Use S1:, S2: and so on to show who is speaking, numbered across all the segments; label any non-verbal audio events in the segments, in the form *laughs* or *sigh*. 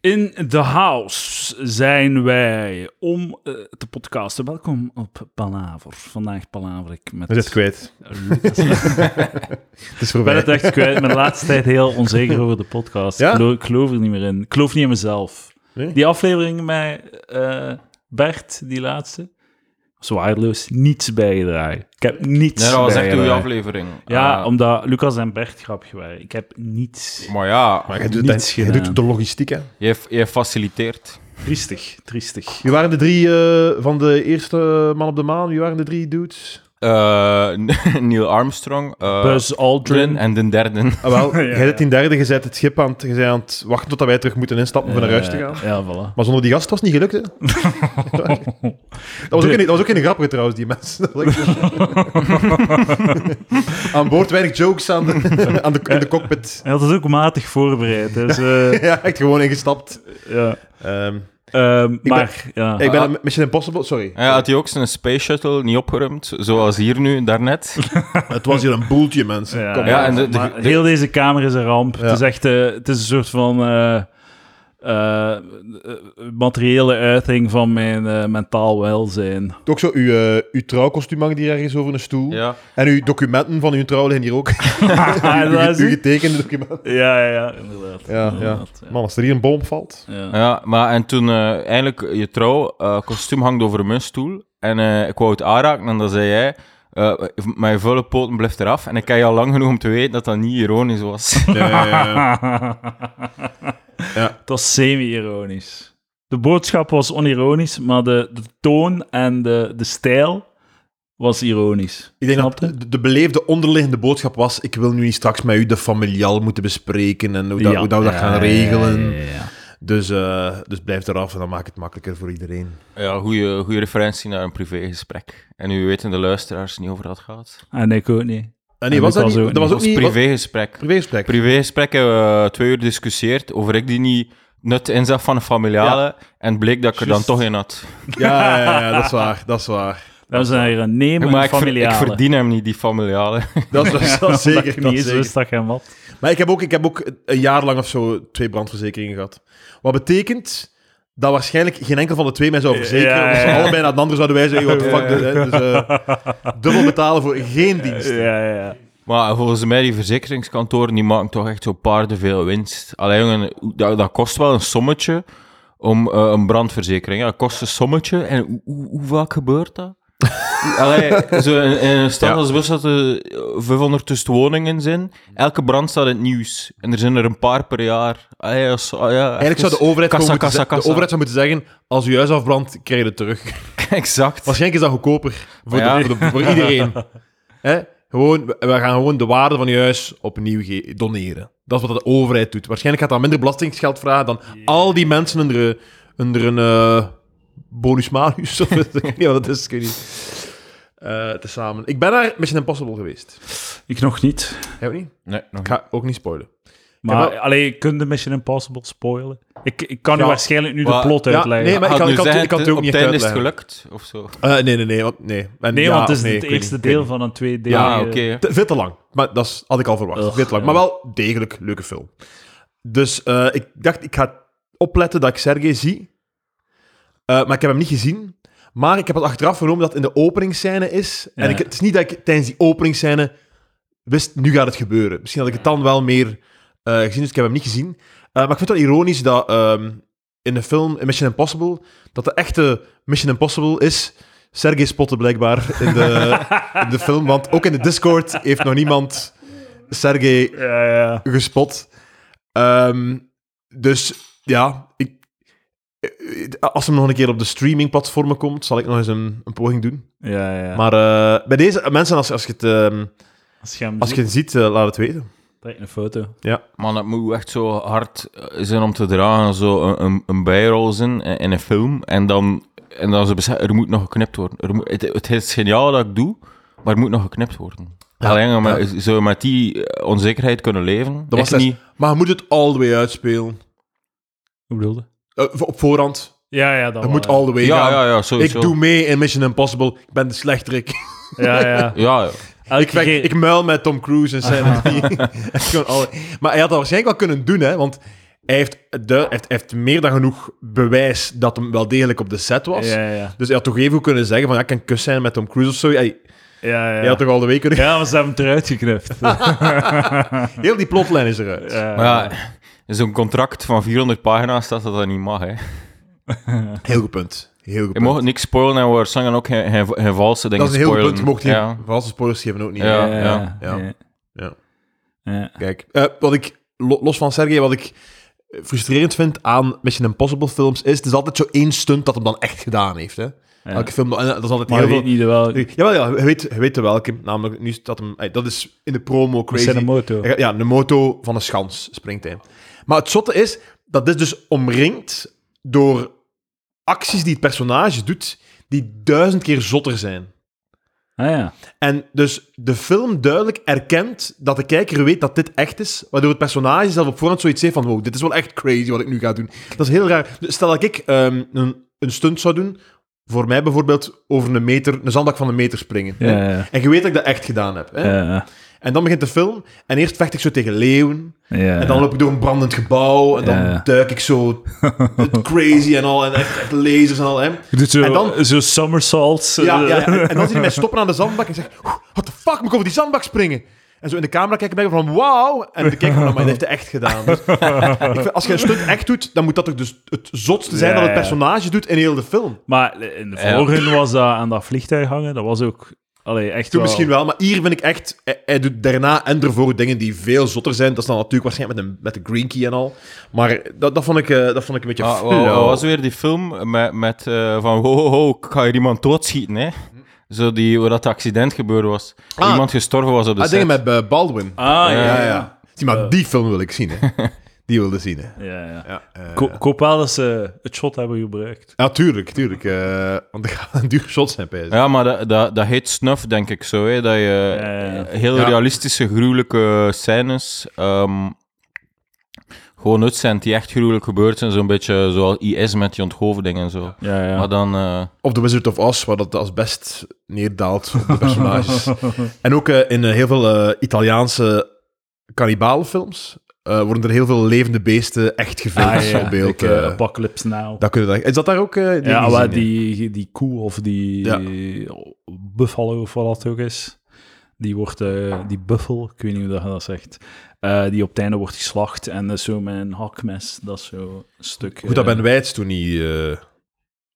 S1: In the house zijn wij om eh, te podcasten. Welkom op Palaver. Vandaag palaver ik met
S2: Dat is het kwijt.
S1: Lucas.
S2: Het is
S1: Ik ben
S2: voorbij.
S1: het echt kwijt. Ik ben de laatste tijd heel onzeker over de podcast.
S2: Ja?
S1: Ik, geloof, ik geloof er niet meer in. Ik geloof niet in mezelf.
S2: Nee?
S1: Die aflevering met eh, Bert, die laatste, was waardeloos. Niets bijgedragen. Ik heb niets
S3: Nee, dat was echt een goede
S1: bijgedragen.
S3: aflevering.
S1: Ja,
S3: Eh,
S1: omdat Lucas en Bert grapje waren. Ik heb niets.
S3: Maar ja,
S2: Maar jij doet,
S1: Niets
S2: dat- jij
S1: gedaan.
S2: doet de logistiek, hè?
S3: jij, jij faciliteert.
S1: Triestig, triestig.
S2: Wie waren de drie eh, van de eerste man op de maan? Wie waren de drie dudes?
S3: Eh, *laughs* Neil Armstrong, eh
S1: Buzz Aldrin.
S3: Aldrin en de derde.
S2: Ah, wel,
S1: *laughs* Ja,
S2: jij hebt
S1: ja.
S2: in derde gezet het schip aan het, jij bent aan het wachten totdat wij terug moeten instappen om naar huis te gaan.
S1: Eh, Ja, voilà.
S2: Maar zonder die gast was het niet gelukt, hè?
S1: *laughs*
S2: dat, was ook
S1: De-
S2: geen, dat was ook geen grappige trouwens, die mensen. Dat was
S1: *laughs*
S2: echt- aan boord weinig jokes
S1: *laughs*
S2: aan de, aan de, in de cockpit.
S1: Hij had het ook matig voorbereid. Dus,
S2: *laughs*
S1: eh,
S2: Ja, echt gewoon ingestapt.
S1: ja.
S2: Ehm,
S1: Ehm,
S2: ben-
S1: maar, ja.
S2: ik ben aan Mission Impossible, sorry.
S3: Ja, had hij ook zijn space shuttle niet opgeruimd, zoals hier nu, daarnet.
S2: Het was hier een boeltje, mensen.
S1: Ja,
S2: Kom
S1: ja,
S2: maar.
S3: en de- de-
S1: Maar heel deze kamer is een ramp.
S2: Ja.
S1: Het, is echt, eh, het is een soort van eh, eh, materiële uiting van mijn eh, mentaal
S2: *laughs*
S1: welzijn.
S2: Ook zo, uw, eh, uw trouwkostuum hangt hier ergens over een stoel.
S3: Ja.
S2: En uw documenten van uw trouw liggen hier ook.
S1: Ah,
S2: *laughs* uw,
S1: dat is-
S2: uw getekende documenten.
S1: ja, ja, ja, inderdaad.
S2: Ja,
S1: inderdaad, ja.
S2: Man, als er hier een bom op valt.
S1: Ja.
S3: Ja, maar en toen eh, eindelijk je trouw, eh, kostuum hangt over mijn stoel. En eh, ik wou het aanraken en dan zei jij, eh, mijn vuile poten blijft eraf. En ik ken je al lang genoeg om te weten dat dat niet ironisch was.
S2: *laughs* Ja, ja,
S1: *laughs* Het was semi-ironisch. De boodschap was onironisch, maar de, de toon en de, de stijl was ironisch.
S2: Ik denk dat
S1: Snapte?
S2: de, de beleefde onderliggende boodschap was: ik wil nu niet straks met u de familiaal moeten bespreken en hoe, dat,
S1: Ja.
S2: hoe dat we dat gaan
S1: Ja,
S2: regelen.
S1: ja, ja, ja.
S2: Dus, eh, dus blijf eraf en dan maakt het makkelijker voor iedereen.
S3: ja, goede referentie naar een privégesprek. En nu weten de luisteraars niet over dat gaat.
S1: En Ah, ik ook niet.
S2: En
S1: En
S2: Ah, nee, was
S1: dat
S2: dat niet?
S1: was ook
S2: Dat was
S3: Dat
S2: ook
S3: was
S2: niet. wat-
S3: privégesprek.
S2: Privégesprek.
S3: privégesprek hebben we twee uur discussieerd over ik die niet nut inzag van een familiale. En bleek dat ik er dan
S1: Juist.
S3: toch in had.
S2: Ja, ja, ja, dat is waar. Dat is
S1: *laughs*
S2: waar.
S1: Dat zijn hier een nemen
S3: maar ik, ver- ik
S1: familiale.
S3: verdien hem niet, die familiale.
S2: Dat is, dat is
S1: Omdat
S2: zeker.
S1: ik
S2: Dat
S1: niet eens
S2: zeker.
S1: wist dat je hem had.
S2: Maar ik heb, ook, ik heb ook een jaar lang of zo twee brandverzekeringen gehad. Wat betekent dat waarschijnlijk geen enkel van de twee mij zou verzekeren.
S1: Ja,
S2: Omdat ze
S1: ja, ja.
S2: allebei naar het ander zouden wijzen. Hey, what the
S3: Ja,
S2: fuck,
S3: ja.
S2: hè? Dus, eh, dubbel betalen voor geen dienst.
S1: Ja, ja, ja.
S3: Maar volgens mij, die verzekeringskantoren, die maken toch echt zo paardenveel winst. Allee, jongen, hoe- dat, dat kost wel een sommetje om eh, een brandverzekering. Ja, dat kost een sommetje. En hoe, hoe, hoe vaak gebeurt dat? *laughs* Allee, zo in, in een stad
S2: Ja.
S3: als Brussel dat er 500 tussen woningen zijn. Elke brand staat in het nieuws. En er zijn er een paar per jaar. Allee, als- ah ja,
S2: Eigenlijk zou de
S3: even-
S2: overheid,
S3: kassa,
S2: gewoon moeten
S3: kassa,
S2: ze-
S3: kassa.
S2: de overheid zou moeten zeggen, als je huis afbrandt, krijg je het terug.
S3: *laughs* Exact.
S2: Waarschijnlijk is dat goedkoper voor,
S3: Ja.
S2: de, voor, de-
S1: *laughs*
S2: voor iedereen. Hè? Gewoon, we we gaan gewoon de waarde van je huis opnieuw ge- doneren. Dat is wat de overheid doet. Waarschijnlijk gaat dat minder belastingsgeld vragen dan al die mensen onder, eh, onder een eh bonus malus. Of *laughs* ik weet niet wat dat is, ik weet niet. Eh, tezamen. Ik ben naar Mission Impossible geweest.
S1: Ik nog niet.
S2: Jij ook niet?
S3: Nee, nog
S2: Ik ga ook niet spoilen.
S1: Maar
S2: wel-
S1: alleen kun je Mission Impossible spoilen? Ik, ik kan
S2: Ja.
S1: u waarschijnlijk nu
S3: Maar-
S1: de plot
S2: ja,
S1: uitleggen.
S2: nee,
S1: Nee,
S2: maar- ik
S3: Had
S2: kan-
S3: nu
S2: ik kan-
S3: zeggen,
S2: ik kan het ook
S3: op
S2: niet
S3: het einde is het
S2: uitleggen.
S3: gelukt, of zo.
S2: Eh, nee, nee, nee. Want, nee. En ja,
S1: want het is
S2: of nee, ik
S1: het
S2: weet
S1: eerste
S2: niet, ik weet
S1: deel
S2: niet.
S1: van een tweedelige...
S3: Ja, Ah, oké. hè.
S2: Te- veel te lang. Maar dat is, had ik al verwacht.
S1: Ugh,
S2: veel te lang.
S1: ja.
S2: Maar wel degelijk leuke film. Dus eh, ik dacht, ik ga opletten dat ik Sergej zie. Eh, maar ik heb hem niet gezien. Maar ik heb het achteraf vernomen dat het in de openingsscène is.
S1: Ja.
S2: En ik, het is niet dat ik tijdens die openingsscène wist, nu gaat het gebeuren. Misschien had ik het dan wel meer eh, gezien, dus ik heb hem niet gezien. Eh, maar ik vind het wel ironisch dat ehm, in de film in Mission Impossible, dat de echte Mission Impossible is... Sergej spotte blijkbaar in de, in de film, want ook in de Discord heeft nog niemand Sergej
S1: Ja, ja.
S2: gespot. Ehm, dus ja, ik, eh, als hem nog een keer op de streamingplatformen komt, zal ik nog eens een, een poging doen.
S1: ja, ja.
S2: Maar eh, bij deze mensen, als, als, je het, ehm,
S1: als je hem
S2: als je
S1: ziet,
S2: het ziet, eh, laat het weten.
S1: trek een foto.
S3: Man, dat moet echt zo hard eh, zijn om te dragen. Zo een, een, een bijrol zijn in, in een film. En dan, en dan ze beseffen, er moet nog geknipt worden. Er moet, het, het is geniaal dat ik doe, maar er moet nog geknipt worden.
S2: Ja,
S3: Alleen maar
S2: ja.
S3: zou je met die eh, onzekerheid kunnen leven?
S2: Dat was
S3: ik
S2: les-
S3: niet.
S2: Maar je moet het all the way uitspelen.
S1: Hoe bedoelde?
S2: Eh, voor- op voorhand.
S1: Ja, ja, dat
S2: Het
S1: wel,
S2: moet all the way
S3: Oh, Ja,
S2: gaan.
S3: ja, ja,
S2: ik
S3: sowieso.
S2: doe mee in Mission Impossible. Ik ben de slechterik.
S1: Ja, ja.
S3: Ja, ja.
S1: Elke
S2: *laughs* Ik, vecht-
S1: keer- *laughs*
S2: *laughs* ik muil met Tom Cruise en Sam. Neill. Echt gewoon alle- Maar hij had dat waarschijnlijk wel kunnen doen, hè? Want Hij heeft, du- hij heeft, hij heeft meer dan genoeg bewijs dat hem wel degelijk op de set was.
S1: Ja, ja.
S2: Dus hij had toch even goed kunnen zeggen van, ja, ik kan kus zijn met Tom Cruise of zo. Hij,
S1: Ja, ja.
S2: hij had toch al de week kunnen...
S1: Ja, maar ze hebben het eruit
S2: *laughs*
S1: geknipt.
S2: Heel die plotlijn is eruit.
S1: Ja.
S3: Maar ja, in zo'n contract van 400 pagina's staat dat dat niet mag, hè.
S2: Heel goed punt. Heel goed
S3: Je
S2: punt.
S3: mocht niks spoilen en we waarschijnlijk ook geen, geen, geen valse dingen
S2: dat is een heel goed
S3: spoilen.
S2: punt. Je mocht hier
S3: Ja.
S2: valse spoilers geven ook niet.
S3: Ja.
S2: ja,
S1: ja.
S2: ja.
S1: ja.
S2: Kijk, eh, wat ik, lo- los van Sergej, wat ik eh, frustrerend vind aan Mission Impossible films, is het is altijd zo één stunt dat hem dan echt gedaan heeft. Hè?
S1: Ja.
S2: Elke film, en dat is altijd
S1: Maar je
S2: heel
S1: weet
S2: veel...
S1: niet wel.
S2: Jawel, ja, je weet, je weet de welke. Namelijk, nu staat hem... ey, Dat is in de promo crazy.
S1: Cinemoto.
S2: Hij gaat- Ja, de moto van een schans springt hij. Maar het zotte is, dat is dus omringd door acties die het personage doet, die duizend keer zotter zijn.
S1: Ah ja.
S2: En dus de film duidelijk erkent dat de kijker weet dat dit echt is, waardoor het personage zelf op voorhand zoiets heeft van wow, dit is wel echt crazy wat ik nu ga doen. Dat is heel raar. Dus Stel dat ik ehm, een, een stunt zou doen, voor mij bijvoorbeeld over een meter, een zandbak van een meter springen.
S1: Ja,
S2: hè?
S1: ja.
S2: En je weet dat ik dat echt gedaan heb. Hè?
S1: Ja,
S2: En dan begint de film en eerst vecht ik zo tegen leeuwen,
S1: ja.
S2: en dan loop ik door een brandend gebouw, en dan
S1: Ja.
S2: duik ik zo
S1: *laughs*
S2: crazy en al, en echt, echt lasers en al. Hè?
S1: Je doet zo,
S2: en dan-
S1: zo somersaults.
S2: Ja,
S1: eh, *laughs*
S2: ja, ja. En, en dan zie je mij stoppen aan de zandbak en zeg "Oeh, what the fuck, moet ik over die zandbak springen? En zo in de camera kijken en denken van, wauw. En de kijker van, "Oh, maar dat heeft hij echt
S1: *laughs*
S2: gedaan. Dus, ik vind, als je een stunt echt doet, dan moet dat toch dus het zotste zijn
S1: Ja,
S2: dat het
S1: ja.
S2: personage doet in heel de film.
S1: Maar in de
S3: Ja.
S1: vorige was dat aan dat vliegtuig hangen. Dat was ook... Allee, echt
S2: Toen
S1: wel...
S2: misschien wel, maar hier vind ik echt... Hij, hij doet daarna en ervoor dingen die veel zotter zijn. Dat is dan natuurlijk waarschijnlijk met, een, met de green key en al. Maar dat, dat, vond, ik, eh, dat vond ik een beetje...
S3: Ah, wa-
S2: flauw.
S3: wa- was weer die film met, met eh, van ho, ho, ho, ik ga hier iemand doodschieten, hè. Zo die, waar dat accident gebeurd was.
S2: Ah.
S3: iemand gestorven was op de
S2: ah,
S3: set.
S2: dingen met eh, Baldwin.
S1: Ah,
S3: Ja,
S1: ja,
S2: ja,
S1: ja.
S2: ja. Zie, maar die film wil ik zien, hè. Die wilde zien, hè.
S1: ja, ja.
S2: Ja, eh,
S1: Ko- koop wel dat ze het shot hebben gebruikt.
S2: Ja, tuurlijk, tuurlijk. eh, want er gaan *laughs* duur shots zijn, pijs.
S3: Ja, maar dat, dat, dat heet snuff, denk ik zo. Hè? Dat je
S1: Ja, ja, ja.
S3: heel
S2: Ja.
S3: realistische, gruwelijke scènes ehm, gewoon uitzendt die echt gruwelijk gebeurd zijn. Zo'n beetje zoals IS met die onthoofding en zo.
S1: Ja, ja.
S2: *laughs*
S3: Maar dan... eh,
S2: Of The Wizard of Oz, waar dat als best neerdaalt op de
S1: *laughs*
S2: personages. en ook eh, in eh, heel veel eh, Italiaanse kannibalenfilms eh, worden er heel veel levende beesten echt gefilmd.
S1: Ah, ja.
S2: op beeld,
S1: Ik, eh,
S2: eh.
S1: Apocalypse Now.
S2: dat kunnen we dan- Is dat daar ook? eh, die
S1: ja,
S2: niet
S1: maar
S2: zien, hè?
S1: die, die koe of die buffalo of wat dat ook is, die wordt, eh, die buffel, ik weet niet hoe dat je dat zegt, eh, die op het einde wordt geslacht en dat is zo met een hakmes, dat is zo een stuk...
S2: Goed, dat
S1: eh,
S2: Ben Wijts toen niet eh,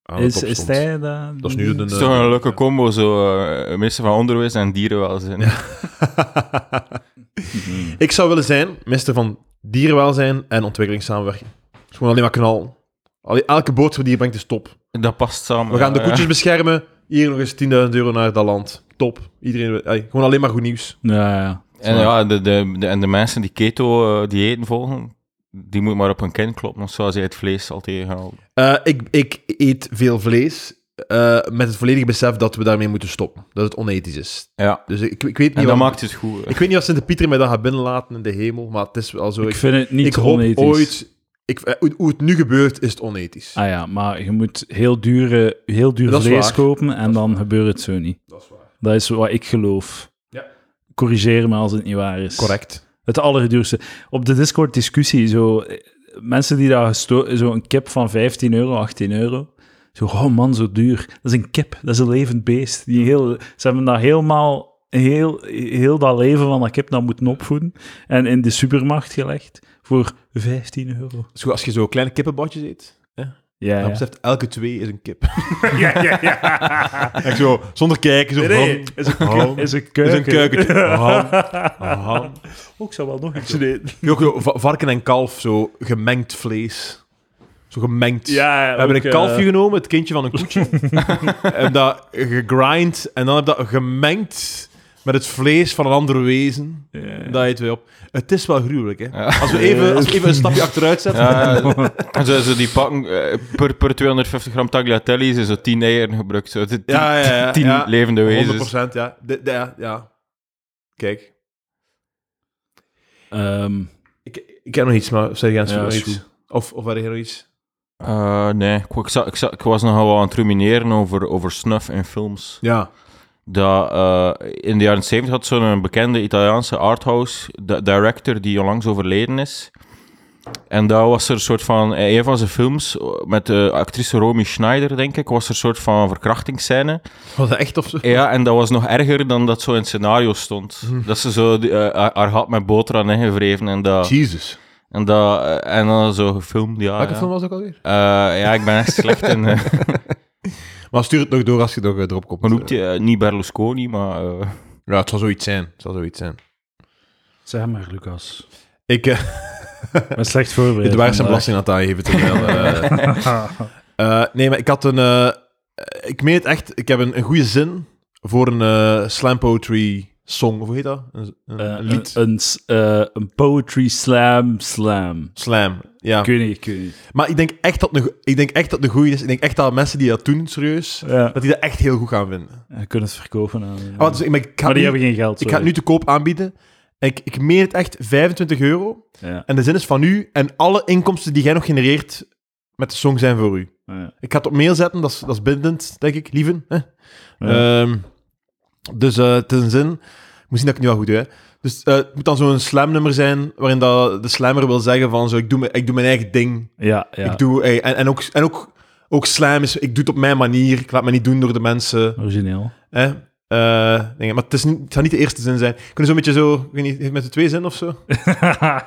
S2: aan de
S1: Is,
S2: top
S1: is
S2: stond.
S1: hij dat?
S2: Dat is nu de...
S3: het is toch een leuke combo, zo. eh, minister van Onderwijs en Dierenwelzijn.
S2: *laughs* Ik zou willen zijn minister van dierenwelzijn en ontwikkelingssamenwerking. Het is gewoon alleen maar knal. Allee, elke boodschap die je brengt is top.
S3: Dat past samen.
S2: We gaan de
S3: ja.
S2: koetjes beschermen. Hier nog eens 10.000 euro naar dat land. Top. Iedereen, ey, gewoon alleen maar goed nieuws.
S1: Ja, ja.
S3: En, ja, de, de, de- en de mensen die keto-diëten volgen, die moet maar op hun kin kloppen, of zo, als je het vlees al tegenhouden.
S2: Eh, ik, ik eet veel vlees. eh, met het volledige besef dat we daarmee moeten stoppen. Dat het onethisch is.
S3: Ja,
S2: Dus ik, ik weet
S3: en
S2: niet.
S3: dat
S2: wat-
S3: maakt het
S2: *laughs*
S3: goed. hè.
S2: Ik weet niet of Sint-Pieter mij dan gaat binnenlaten in de hemel. Maar het is wel zo.
S1: Ik
S2: Ik,
S1: vind het niet
S2: ik hoop
S1: onethisch.
S2: ooit. Ik, eh, hoe, hoe het nu gebeurt, is het onethisch.
S1: Ah ja, maar je moet heel, dure, heel duur
S2: Dat is
S1: vlees
S2: waar.
S1: kopen en
S2: is
S1: dan gebeurt het zo niet.
S2: Dat is waar.
S1: Dat is wat ik geloof.
S2: Ja.
S1: Corrigeer me als het niet waar is.
S2: Correct.
S1: Het allerduurste. Op de Discord-discussie, zo, eh, mensen die daar gesto- zo een kip van 15 euro, 18 euro. Zo, oh man, zo duur. Dat is een kip, dat is een levend beest. Die heel, ze hebben daar helemaal heel, heel dat leven van dat kip naar moeten opvoeden. En in de supermarkt gelegd voor 15 euro.
S2: Dus goed, als je zo kleine kippenbotjes eet.
S1: Ja,
S2: Dan
S1: ja.
S2: beseft elke twee is een kip.
S1: *laughs*
S2: Echt zo, zonder kijken. Zo,
S1: Nee,
S2: van-
S1: is een,
S2: Ham.
S1: keu- is een
S2: is
S1: keuken.
S2: een keukentje. Ham. Ham.
S1: Oh, ik zou wel nog iets eten.
S2: Ja, Ook zo, va- varken en kalf, zo gemengd vlees. Zo gemengd.
S1: Ja,
S2: We hebben
S1: ook,
S2: een kalfje
S1: eh,
S2: genomen, het kindje van een *laughs* koetje. en dat gegrind. En dan heb je dat gemengd met het vlees van een ander wezen.
S1: ja.
S2: Dat eten wij op. Het is wel gruwelijk, hè?
S3: Ja.
S2: Als, we even, als we even een stapje achteruit zetten.
S3: Ja, en zo, zo die pakken, eh, per, per 250 gram tagliatelle is er zo 10 eieren gebruikt. Zo, de 10,
S2: Ja, ja, ja,
S3: 10
S2: ja.
S3: levende wezens.
S2: 100%, ja. De, de- ja, ja. Kijk.
S1: Ehm,
S2: Ik, ik heb nog iets, maar zeg jij
S1: Ja,
S2: nog
S1: is
S2: iets?
S1: goed.
S2: Of, of had jij nog iets?
S3: Eh, nee, ik, ik, zat- ik, zat- ik was nogal aan het rumineren over, over snuff in films.
S2: Ja.
S3: Dat, eh, in de jaren 70 had zo'n bekende Italiaanse arthouse di- director die onlangs overleden is. En daar was er een soort van, in een van zijn films, eh, met de actrice Romy Schneider, denk ik, was er een soort van verkrachtingsscène.
S2: Was dat echt of zo?
S3: Ja, en dat was nog erger dan dat zo in het scenario stond.
S2: Hm.
S3: Dat ze zo die, eh, haar- haar had met boterham ingewreven en dat...
S2: Jesus.
S3: En, dat, eh, en dan zo gefilmd, ja.
S2: Welke
S3: ja.
S2: film was dat ook alweer?
S3: Eh, ja, ik ben echt slecht in... eh,
S2: Maar stuur het nog door als je nog, eh, erop komt.
S3: hoe noemt die? Eh, niet Berlusconi, maar... eh,
S2: Ja, het zal zoiets zijn. Het zal zoiets zijn.
S1: Zeg maar, Lucas. *laughs*
S2: Ik, eh,
S1: Ik ben slecht voorbereid.
S2: het waar zijn *laughs*
S1: vandaag.
S2: belasting aan het aangeven. Terwijl, eh,
S1: *laughs*
S2: Eh, nee, maar ik had een. eh, ik meen het echt. Ik heb een, een goede zin voor een eh, slam poetry song. Of hoe heet dat? Een, een-
S1: Eh,
S2: een lied.
S1: Een, een, s- eh, een poetry slam slam.
S2: slam. Ja.
S1: Ik weet niet, ik weet niet.
S2: Maar ik denk echt dat het een go- ik denk echt dat het een goede is. Ik denk echt dat mensen die dat doen, serieus,
S1: Ja,
S2: dat die dat echt heel goed gaan vinden.
S1: je kunt het verkopen aan...
S2: Ah, want dus, ik, maar ik
S1: maar
S2: ga
S1: die
S2: het nu,
S1: hebben geen geld.
S2: ik ga het nu te koop aanbieden. En ik, ik meen het echt 25 euro.
S1: sorry. Ja,
S2: En de zin is van u. En alle inkomsten die jij nog genereert met de song zijn voor u.
S1: ja.
S2: Ik ga het op mail zetten, dat is, dat is bindend, denk ik, lieven. Hè?
S1: Ja.
S2: Ehm, dus eh, het is een zin. Ik moet zien dat ik het nu wel goed doe. Hè? Dus eh, het moet dan zo'n slamnummer zijn, waarin dat de slammer wil zeggen van zo, ik doe mijn, ik doe mijn eigen ding.
S1: ja, ja.
S2: Ik doe, eh, en, en, ook, en ook, ook slam is, ik doe het op mijn manier, ik laat me niet doen door de mensen.
S1: Origineel.
S2: Hè? Eh, dingen. maar het, is niet, het gaat niet de eerste zin zijn. Kunnen we zo'n beetje zo, ik weet niet, met de twee zinnen of
S1: *laughs*
S2: zo?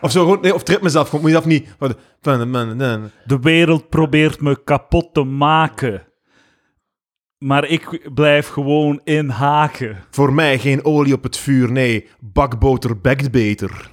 S2: of zo gewoon, nee, of trip mezelf, gewoon, moet je dat niet... wat-
S1: De wereld probeert me kapot te maken. Maar ik blijf gewoon in haken.
S2: Voor mij geen olie op het vuur, nee. Bakboter bekt beter.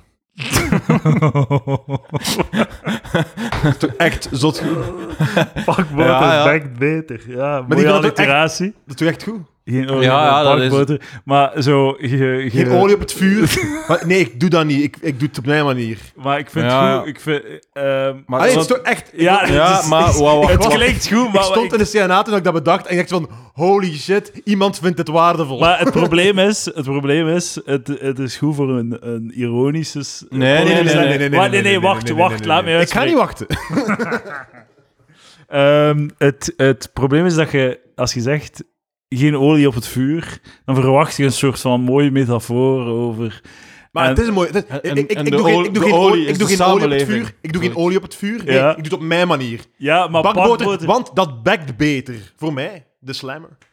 S2: Toch Echt zot goed.
S1: Pak boter
S3: Ja, ja.
S1: bekt beter. Ja,
S2: die
S1: mooie
S2: wil dat ook
S1: alliteratie.
S2: Dat doe je echt goed.
S1: Geen olie,
S3: Ja, ja,
S1: ja,
S3: dat is-
S1: boter. Maar zo... ge- ge-
S2: Geen olie op het vuur. *laughs* Maar nee, ik doe dat niet. Ik, ik doe het op mijn manier.
S1: Maar ik vind
S3: Ja,
S1: het
S3: ja.
S1: goed. Ik vind, ehm,
S3: maar
S2: Allee, het
S3: dat-
S2: is toch echt...
S1: ja,
S3: ja,
S1: het is-
S3: maar... Wow,
S1: het
S2: was-
S1: klinkt goed,
S2: Ik
S1: *laughs* maar...
S2: stond in de CNA toen ik dat bedacht en ik dacht van... Holy shit, iemand vindt dit waardevol.
S1: Maar het probleem is, het, probleem is het, het is goed voor een, een ironische... s-
S3: Nee, nee, nee, nee, nee,
S1: Maar- nee, wacht, wacht, laat me
S2: Ik ga niet wachten. *laughs*
S1: Ehm, het, het probleem is dat je, als je zegt geen olie op het vuur, dan verwacht je een soort van mooie metafoor over.
S2: Maar
S1: En-
S2: het is een mooi. het is-
S3: en-
S2: ik- ik-
S3: en
S2: Ik
S3: de
S2: doe geen-
S3: olie-
S2: ik doe
S3: de
S2: geen
S3: olie
S2: olie- ik
S3: is
S2: doe
S3: de
S2: geen olie op het
S3: samenleving.
S2: vuur. Ik doe geen olie op het vuur. Nee,
S1: Ja.
S2: ik doe het op mijn manier.
S1: Ja, maar
S2: bakboter,
S1: bakboter-
S2: want dat bekt beter. Voor mij, de slammer.
S1: *laughs*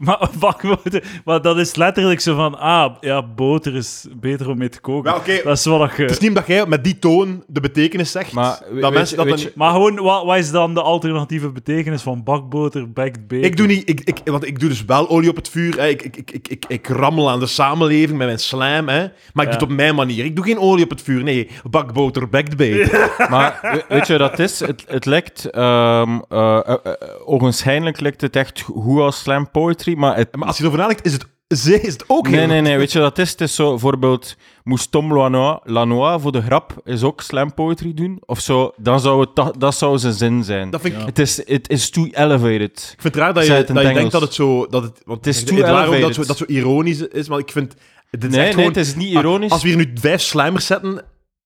S1: Maar, bakboter, maar dat is letterlijk zo van, ah, ja, boter is beter om mee te koken.
S2: Ja, oké.
S1: Dat is wel dat
S2: Het
S1: je...
S2: is niet dat jij met die toon de betekenis zegt.
S3: Maar
S2: dat
S3: we- weet
S2: mensen
S3: je-
S2: dat
S3: weet
S2: dan-
S1: Maar gewoon, wa- wat, is dan de alternatieve betekenis van bakboter, backed beter?
S2: Ik doe niet, ik, ik, want ik doe dus wel olie op het vuur. Hè. Ik, ik, ik, ik, ik, ik rammel aan de samenleving met mijn slam, hè. maar ik doe het op mijn manier. Ik doe geen olie op het vuur, nee. Bakboter, bakt beter.
S3: Maar we- weet je, dat is, het, het lijkt, ehm eh, eh, eh, ogenschijnlijk lijkt het echt goed als slam poetry, maar het...
S2: Maar als je erover nadenkt, is het, ze- is het ook heel
S3: Nee, nee, nee, weet je, dat is, het is zo, bijvoorbeeld, moest Tom Lanois, Lanois voor de grap is ook slam poetry doen, of zo, dan zou het, dat, dat zou zijn zin zijn.
S2: Dat vind ik,
S1: Ja.
S3: Het is, it is too elevated.
S2: ik vind het raar dat je,
S3: Zij het in
S2: dat je
S3: het
S2: denkt dat
S3: Engels.
S2: het zo... Dat het, want
S3: Het is too
S2: waarom dat,
S3: elevated.
S2: zo, dat zo ironisch is, maar ik vind... Dit is
S3: Nee,
S2: echt
S3: nee,
S2: gewoon,
S3: het is niet ironisch.
S2: Als we hier nu vijf slijmers zetten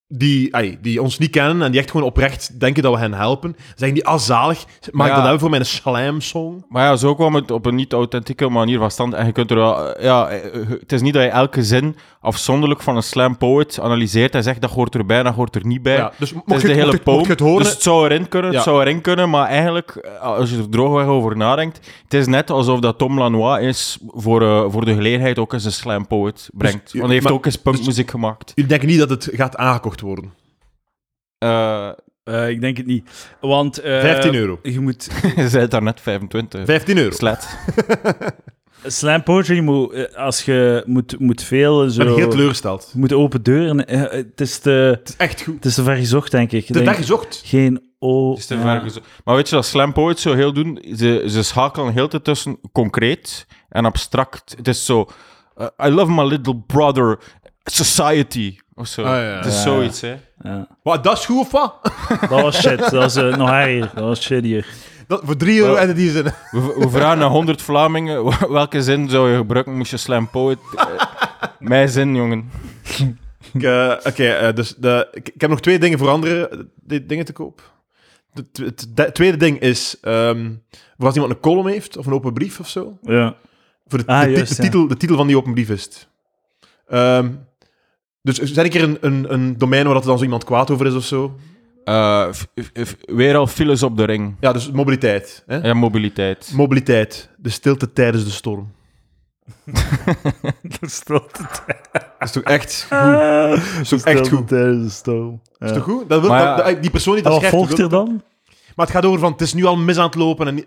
S2: die, ai, die ons niet kennen en die echt gewoon oprecht denken dat we hen helpen, zeggen die, ah, zalig, mag ik
S3: Ja.
S2: dat hebben voor mijn slam-song?
S3: Maar ja, zo kwam het op een niet-authentieke manier van stand. En je kunt er wel, eh, ja, eh, eh, het is niet dat je elke zin afzonderlijk van een slam poet analyseert en zegt dat hoort erbij, dat hoort er niet bij.
S2: Ja, dus mocht
S3: Het is
S2: je
S3: de
S2: het-
S3: hele
S2: mocht je- mocht
S3: poem.
S2: je het horen-
S3: Dus het zou erin kunnen, het
S2: Ja.
S3: zou erin kunnen, maar eigenlijk, eh, als je er droogweg over nadenkt, het is net alsof dat Tom Lanois is voor, eh, voor de gelegenheid ook eens een slam poet brengt.
S2: Dus je-
S3: Want hij heeft
S2: maar- dus-
S3: ook eens punkmuziek gemaakt.
S2: Jullie denken niet dat het gaat aangekocht worden.
S3: Eh *laughs*
S1: Eh, ik denk het niet. Want... eh,
S2: 15 euro.
S1: Je moet...
S3: je zei het daarnet 25.
S2: 15 euro.
S3: Slet.
S1: Slam poetry moet... eh, Als je moet, moet veel
S2: Ik ben
S1: zo...
S2: heel teleurgesteld.
S1: Je moet open deuren... eh, Het is te...
S2: Het is echt goed.
S1: Het is te ver gezocht, denk ik. Ik
S2: De
S1: denk,
S2: dag gezocht.
S1: Geen O.
S3: Het is te ver gezo- Maar weet je wat slam poets zo heel doen? Ze, ze schakelen heel te tussen concreet en abstract. Het is zo... eh, I love my little brother society. Of zo.
S2: Ah, ja.
S3: Het is
S1: Ja.
S3: zoiets, hè.
S1: Ja.
S2: Wat, dat is goed of wat? *laughs*
S1: Dat was shit. Dat was eh, nog erger. Dat was shittier.
S2: Dat, voor 3 euro
S3: Wel-
S2: en die zin.
S3: We, we vragen naar 100 Vlamingen *laughs* w- welke zin zou je gebruiken moest je slam poet... eh, mijn zin, jongen.
S2: Ik, eh, Oké, eh, dus de, ik, ik heb nog twee dingen voor andere eh, di- dingen te koop. De tw- Het de- tweede ding is, ehm, voor als iemand een column heeft of een open brief of zo.
S1: Ja.
S2: Voor de,
S1: Ah,
S2: de ti-
S1: juist,
S2: de
S1: ja.
S2: titel, de titel van die open brief is het. Ehm, dus zet ik er een, een, een domein waar dat er dan zo iemand kwaad over is of zo?
S3: Eh, f- f- f- weer al files op de ring.
S2: Ja, dus mobiliteit. Hè?
S3: Ja, mobiliteit.
S2: Mobiliteit. De stilte tijdens de storm.
S1: *laughs* Dat is tot
S2: Dat is toch echt goed?
S1: Ah.
S2: Dat is toch echt goed?
S1: Tijdens de storm.
S2: Dat is toch goed? Dat wil,
S3: Maar ja.
S2: dat- dat- die persoon die
S1: En
S2: dat
S1: wat
S2: schrijft...
S1: volgt
S2: wil-
S1: er dan?
S2: Maar het gaat over van, het is nu al mis aan het lopen en...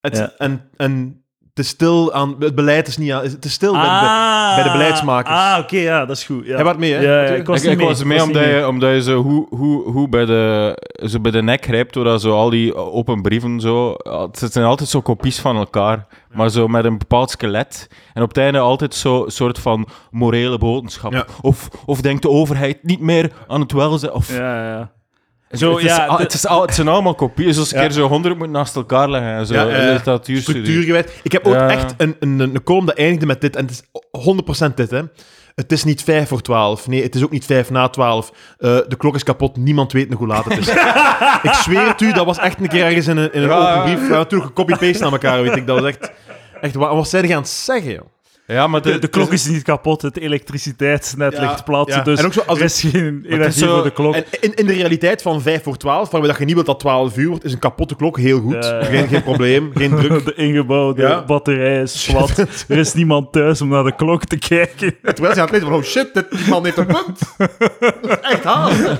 S2: Het,
S1: Ja.
S2: en, en het is stil aan... Het beleid is niet aan... Het is stil bij- bij, bij de beleidsmakers.
S1: Ah, oké, ja, dat is goed. Ja.
S2: Jij waart mee, hè?
S1: Ah. Ja, ja,
S2: Natuurlijk.
S1: ik was
S3: Ik, ik was mee omdat
S1: niet
S3: je, omdat je zo hoe, hoe, hoe bij, de, zo bij de nek grijpt, doordat zo al die open brieven zo... Het zijn altijd zo kopies van elkaar, maar zo met een bepaald skelet. En op het einde altijd zo'n soort van morele boodschap.
S2: Ja.
S3: Of, of denkt de overheid niet meer aan het welzijn... Of,
S1: Ja, ja. ah,
S3: het,
S1: Zo,
S3: het is,
S1: ja,
S3: al-
S1: de-
S3: het, is al- het zijn allemaal kopieën, zoals een
S1: Ja.
S3: keer zo honderd moet naast elkaar leggen. en Zo,
S2: Ja, eh, ja, ja.
S3: literatuurstudie.
S2: structuurgewijs. Ik heb ook
S3: Ja.
S2: echt een, een, een column dat eindigde met dit. En het is 100% dit, hè. Het is niet vijf voor twaalf. Nee, het is ook niet vijf na twaalf. Eh, de klok is kapot. Niemand weet nog hoe laat het is. ik zweer het u, dat was echt een keer ergens in een, in een
S3: Ja, ja.
S2: open brief. We hebben toen gecopy-paste aan elkaar, weet ik. Dat was echt... echt wat, wat zijn die aan het zeggen, joh?
S3: Ja, maar
S1: De, de klok is niet kapot, het elektriciteitsnet
S2: Ja,
S1: ligt plat,
S2: ja.
S1: dus
S2: En ook zo als
S1: er is geen energie
S3: zo-
S1: voor de klok.
S2: En in, in de realiteit van 5 voor 12, waarbij dat je niet wilt dat 12 uur wordt, is een kapotte klok heel goed.
S1: Ja, ja.
S2: Geen, geen probleem,
S1: *laughs*
S2: geen druk.
S1: De ingebouwde
S2: Ja.
S1: batterij is
S2: *laughs*
S1: plat. er is niemand thuis om naar de klok te kijken.
S2: Terwijl ze aan het lezen van, oh shit, dit, die man heeft een punt. Dat is echt haast.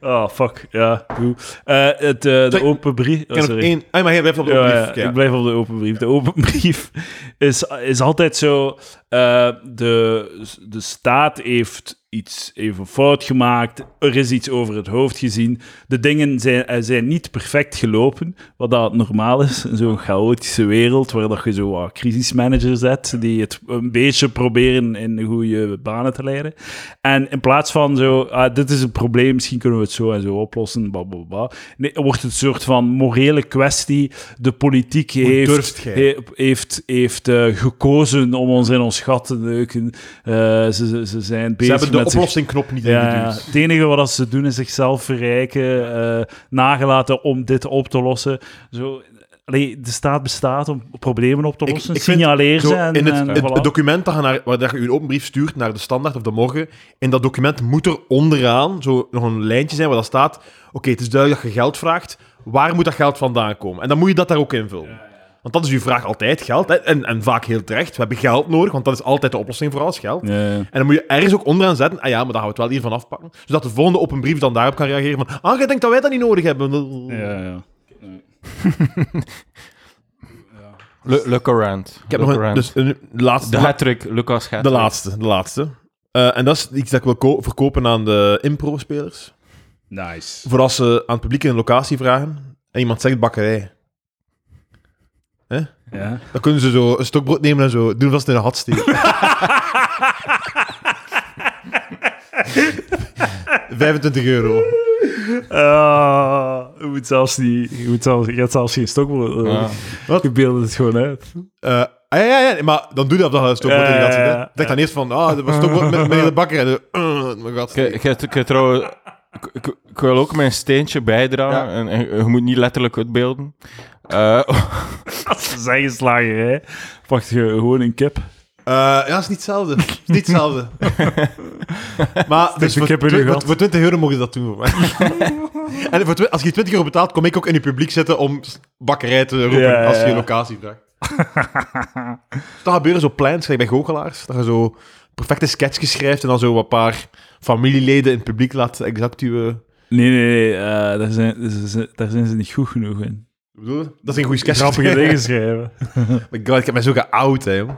S1: Ah, fuck. Ja, goed. Eh, het, eh, de
S2: Sorry,
S1: open brief...
S2: Ik heb nog één... Ah, maar jij blijft op de
S1: Oh, Ja,
S2: open
S1: ja,
S2: brief. Ja.
S1: ik blijf op de open brief. De open brief is, is altijd zo... eh, de, de staat heeft iets even fout gemaakt. Er is iets over het hoofd gezien. De dingen zijn, eh, zijn niet perfect gelopen, wat dat normaal is in zo'n chaotische wereld, waar dat je zo wat crisismanagers hebt, die het een beetje proberen in de goede banen te leiden. En in plaats van zo, ah, dit is een probleem, misschien kunnen we het zo en zo oplossen, blablabla. Nee, wordt het een soort van morele kwestie. De politiek
S2: durft
S1: heeft,
S2: gij?
S1: he- heeft, heeft eh, gekozen om ons in ons gat te neuken. Eh, ze, ze, ze zijn
S2: Ze
S1: bezig
S2: hebben de
S1: met zich
S2: oplossingknop niet
S1: ja, ja.
S2: ingeduwd.
S1: het enige wat dat ze doen is zichzelf verrijken, eh, nagelaten om dit op te lossen. Zo, allee, de staat bestaat om problemen op te
S2: Ik-
S1: lossen,
S2: ik vind-
S1: signaleer
S2: Zo,
S1: ze en,
S2: in het,
S1: en
S2: het-
S1: eh, voilà.
S2: het document dat je naar, waar dat je je open brief stuurt naar de standaard of de morgen, in dat document moet er onderaan zo nog een lijntje zijn waar dat staat, oké, het is duidelijk dat je geld vraagt, waar moet dat geld vandaan komen? En dan moet je dat daar ook invullen. Want dat is uw vraag altijd, geld. hè, En, en vaak heel terecht, we hebben geld nodig, want dat is altijd de oplossing voor alles, geld.
S1: Ja, ja.
S2: En dan moet je ergens ook onderaan zetten, ah ja, maar dan gaan we het wel hiervan afpakken. Zodat de volgende open brief dan daarop kan reageren van, ah, jij denkt dat wij dat niet nodig hebben.
S1: Ja, ja.
S3: Le, Le Corant.
S2: Ik heb
S3: Le
S2: nog een,
S3: Corant.
S2: dus een laatste.
S3: de hat-trick, Lucas hat
S2: De laatste, de laatste. Eh, en dat is iets dat ik wil ko- verkopen aan de impro-spelers.
S1: Nice.
S2: Voor als ze aan het publiek een locatie vragen en iemand zegt bakkerij.
S1: Ja.
S2: Dan kunnen ze zo een stok brood nemen en zo doen vast in de hat steken. *laughs* 25 euro.
S1: Ah, je, moet zelfs niet, je, moet zelfs, je hebt zelfs geen stokbrood
S3: Ja.
S2: Ah.
S1: nodig. Je beeldt het gewoon uit.
S2: Eh, ah, ja, ja, ja, maar dan doe je dat dan een stokbrood in de gat
S1: Ja,
S2: zit.
S1: ja,
S2: hè.
S1: ja.
S2: Denk dan eerst van, ah, dat was stokbrood met, met de *clears throat* bakker. En dan, eh, in mijn gat
S3: Ik,
S2: steken.
S3: ik, ik, ik, trouwens, ik, ik- ik wil ook mijn steentje bijdragen.
S2: Ja.
S3: En, en je moet niet letterlijk uitbeelden. Eh, *laughs*
S1: *laughs* Dat is een geslagerij. Pakt je gewoon een kip.
S2: Eh, ja, is niet
S1: *laughs*
S2: hetzelfde. Is niet hetzelfde. maar dus
S1: een
S2: voor,
S1: kip in
S2: twi-
S1: uw
S2: voor-
S1: gat.
S2: voor 20 euro mogen ze dat doen voor mij.
S1: *laughs*
S2: en voor twi- als je 20 euro betaalt, kom ik ook in het publiek zitten om s- bakkerij te roepen
S1: Ja, ja,
S2: als je
S1: ja.
S2: een locatie
S1: *laughs*
S2: vraagt. dat gebeuren zo plans, gelijk bij goochelaars, dat je zo perfecte sketchjes schrijft en dan zo een paar familieleden in het publiek laat exact uw... eh,
S1: Nee, nee, nee. eh, daar, zijn, daar zijn- daar zijn ze niet goed genoeg in.
S2: *laughs* Ik bedoel, dat zijn goede sketches. *laughs*
S1: Grappige dingen schrijven.
S2: Maar God, ik heb mij zo geout, hè, jong.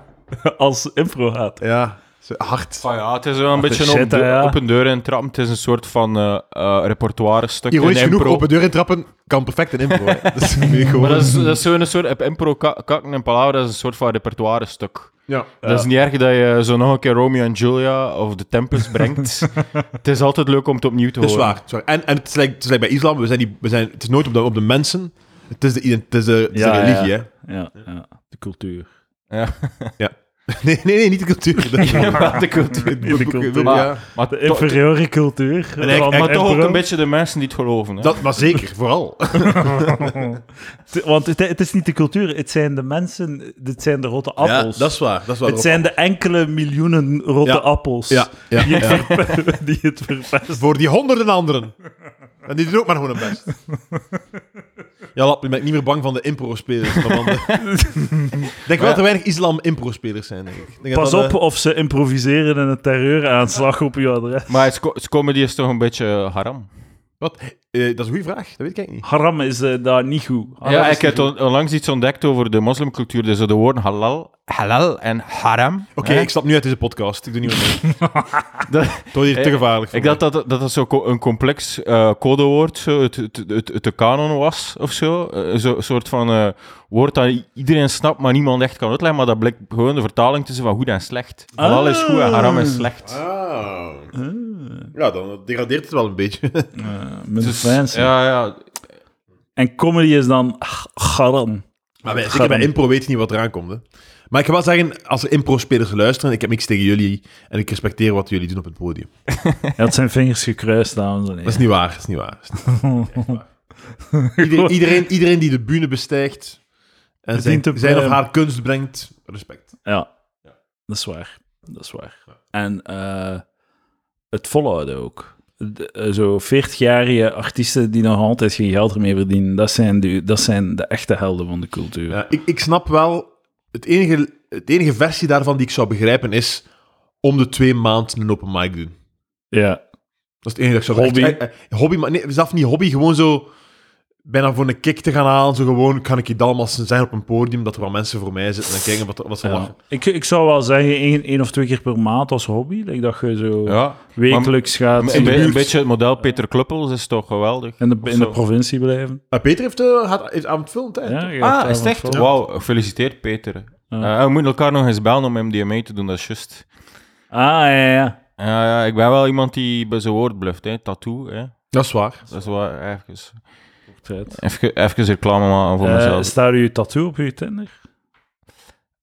S1: Als impro gaat.
S2: Ja, zo hard.
S3: van ja, het is wel een beetje
S1: shit,
S3: op, de-
S1: hè, ja.
S3: op een deur in trap. Het is een soort van eh eh, repertoire stuk. in
S2: Ironisch genoeg,
S3: impro.
S2: open deur intrappen kan perfect in
S1: *laughs*
S2: impro. hè. Dat is nu gewoon...
S3: Maar dat is, dat is zo'n soort op impro ka- kakken en palaver, dat is een soort van repertoire stuk.
S2: Ja.
S3: Dat is niet erg dat je zo nog een keer Romeo en Julia of The
S1: *laughs*
S3: Tempest brengt. het is altijd leuk om het opnieuw te
S2: Dat is
S3: horen.
S2: waar. dat is waar. En, en het, is like, het is like bij islam, we zijn die, we zijn, het is nooit op de, op de mensen. Het is de, ident- het is de, het is de
S1: Ja,
S2: religie, hè.
S3: *laughs*
S1: Ja, ja. de cultuur.
S3: Ja.
S2: *laughs* Nee, nee, nee, niet de cultuur. Dat-
S3: de cultuur.
S2: *laughs*
S1: Niet de cultuur.
S2: Ja.
S3: Maar,
S1: De
S3: to-
S1: inferiore cultuur.
S2: En eigenlijk-
S1: Van
S3: maar toch ook
S1: emperor.
S3: een beetje de mensen die het geloven. Hè?
S2: Dat, maar zeker, vooral.
S1: T- Want het, het is niet de cultuur, het zijn de mensen, het zijn de rotte appels.
S2: Ja, dat is waar. Dat is waar
S1: het zijn de enkele miljoenen rotte
S2: Ja.
S1: appels
S2: Ja, ja,
S1: die, het
S2: ja.
S1: verpe- *laughs* die het verpesten.
S2: Voor die honderden anderen. En die doen ook maar gewoon hun best. *laughs* Ja, lap, nu ben ik niet meer bang van de impro-spelers. maar van de- Ik denk wel dat er weinig islam-impro-spelers zijn, denk ik. Ik denk
S1: Pas
S2: dat,
S1: op
S2: eh,
S1: of ze improviseren in een terreuraanslag op je adres.
S3: Maar het, sco- het comedy is toch een beetje eh, haram.
S2: wat? Eh, dat is een goede vraag. Dat weet ik eigenlijk niet.
S1: Haram is eh, daar niet goed. Haram
S3: ja,
S1: is
S3: ik
S1: niet
S3: heb on- onlangs iets ontdekt over de moslimcultuur. Dus de woorden halal, halal en haram.
S2: Oké,
S3: hè?
S2: ik stap nu uit deze podcast. Ik doe niet meer mee.
S3: Dat-
S2: Het wordt hier te
S3: Eh,
S2: gevaarlijk voor
S3: Ik dacht dat dat, dat zo'n co- een complex eh, codewoord zo, uit, uit, uit- uit de kanon was of zo. Eh, zo- Een soort van eh, woord dat i- iedereen snapt, maar niemand echt kan uitleggen. Maar dat blijkt gewoon de vertaling tussen van goed en slecht. Halal is goed en haram is slecht.
S2: Ah. Ja, dan degradeert het wel een
S3: *laughs*
S2: beetje.
S1: goed. Met
S3: Dus,
S1: fans.
S3: ja, ja.
S1: En comedy is dan h- haram.
S2: Maar bij, zeker
S1: Garam.
S2: bij impro weet je niet wat eraan komt. Hè. Maar ik kan wel zeggen, als er impro-spelers luisteren, ik heb niks tegen jullie en ik respecteer wat jullie doen op het podium.
S1: Hij had zijn vingers gekruist, dames en
S2: Dat is
S1: heren.
S2: niet waar, dat is niet
S3: *laughs*
S2: waar. Dat is niet waar. Echt waar. Iedereen, iedereen, iedereen die de bühne bestijgt en zijn,
S1: Verdient te
S2: zijn of
S3: eh,
S1: blijven.
S2: haar kunst brengt, respect.
S1: Ja, dat is waar. Dat is waar. En eh, het volhouden ook. De- eh, zo 40-jarige artiesten die nog altijd geen geld ermee verdienen, dat zijn de, dat zijn de echte helden van de cultuur.
S2: Ja, ik, ik snap wel, het enige, het enige versie daarvan die ik zou begrijpen is om de twee maanden een open mic doen.
S1: Ja.
S2: Dat is het enige dat ik zou
S1: Hobby.
S2: Eh, eh, hobby, maar nee, zelf niet hobby, gewoon zo bijna voor een kick te gaan halen. Zo gewoon, kan ik hier allemaal zijn op een podium, dat er wel mensen voor mij zitten en kijken wat, wat ze
S1: Ja.
S2: lachen.
S1: Ik, ik zou wel zeggen, één, één of twee keer per maand als hobby. Like dat je zo
S3: ja.
S1: wekelijks gaat
S3: Een,
S1: in de,
S3: be- een
S1: buurt,
S3: beetje het model Peter Kluppels is toch geweldig.
S1: in de, in de
S3: Of zo.
S1: provincie blijven.
S2: Maar Peter heeft, eh, had, heeft avondfilm tijd.
S1: Ja,
S2: toch?
S1: je gaat
S3: Ah, is het echt?
S1: avond vol.
S3: Wauw, gefeliciteerd Peter.
S1: Ja.
S3: Eh, we moeten elkaar nog eens bellen om MDMA te doen, dat is juist.
S1: Ah, ja, ja.
S3: Ja, ja, ik ben wel iemand die bij zijn woord bluft, hè. Tattoo, hè.
S2: Dat is waar.
S3: Dat is wel even...
S1: Tijd.
S3: Even, even reclame maken voor
S1: Eh,
S3: mezelf.
S1: staat u tattoo op uw Tinder?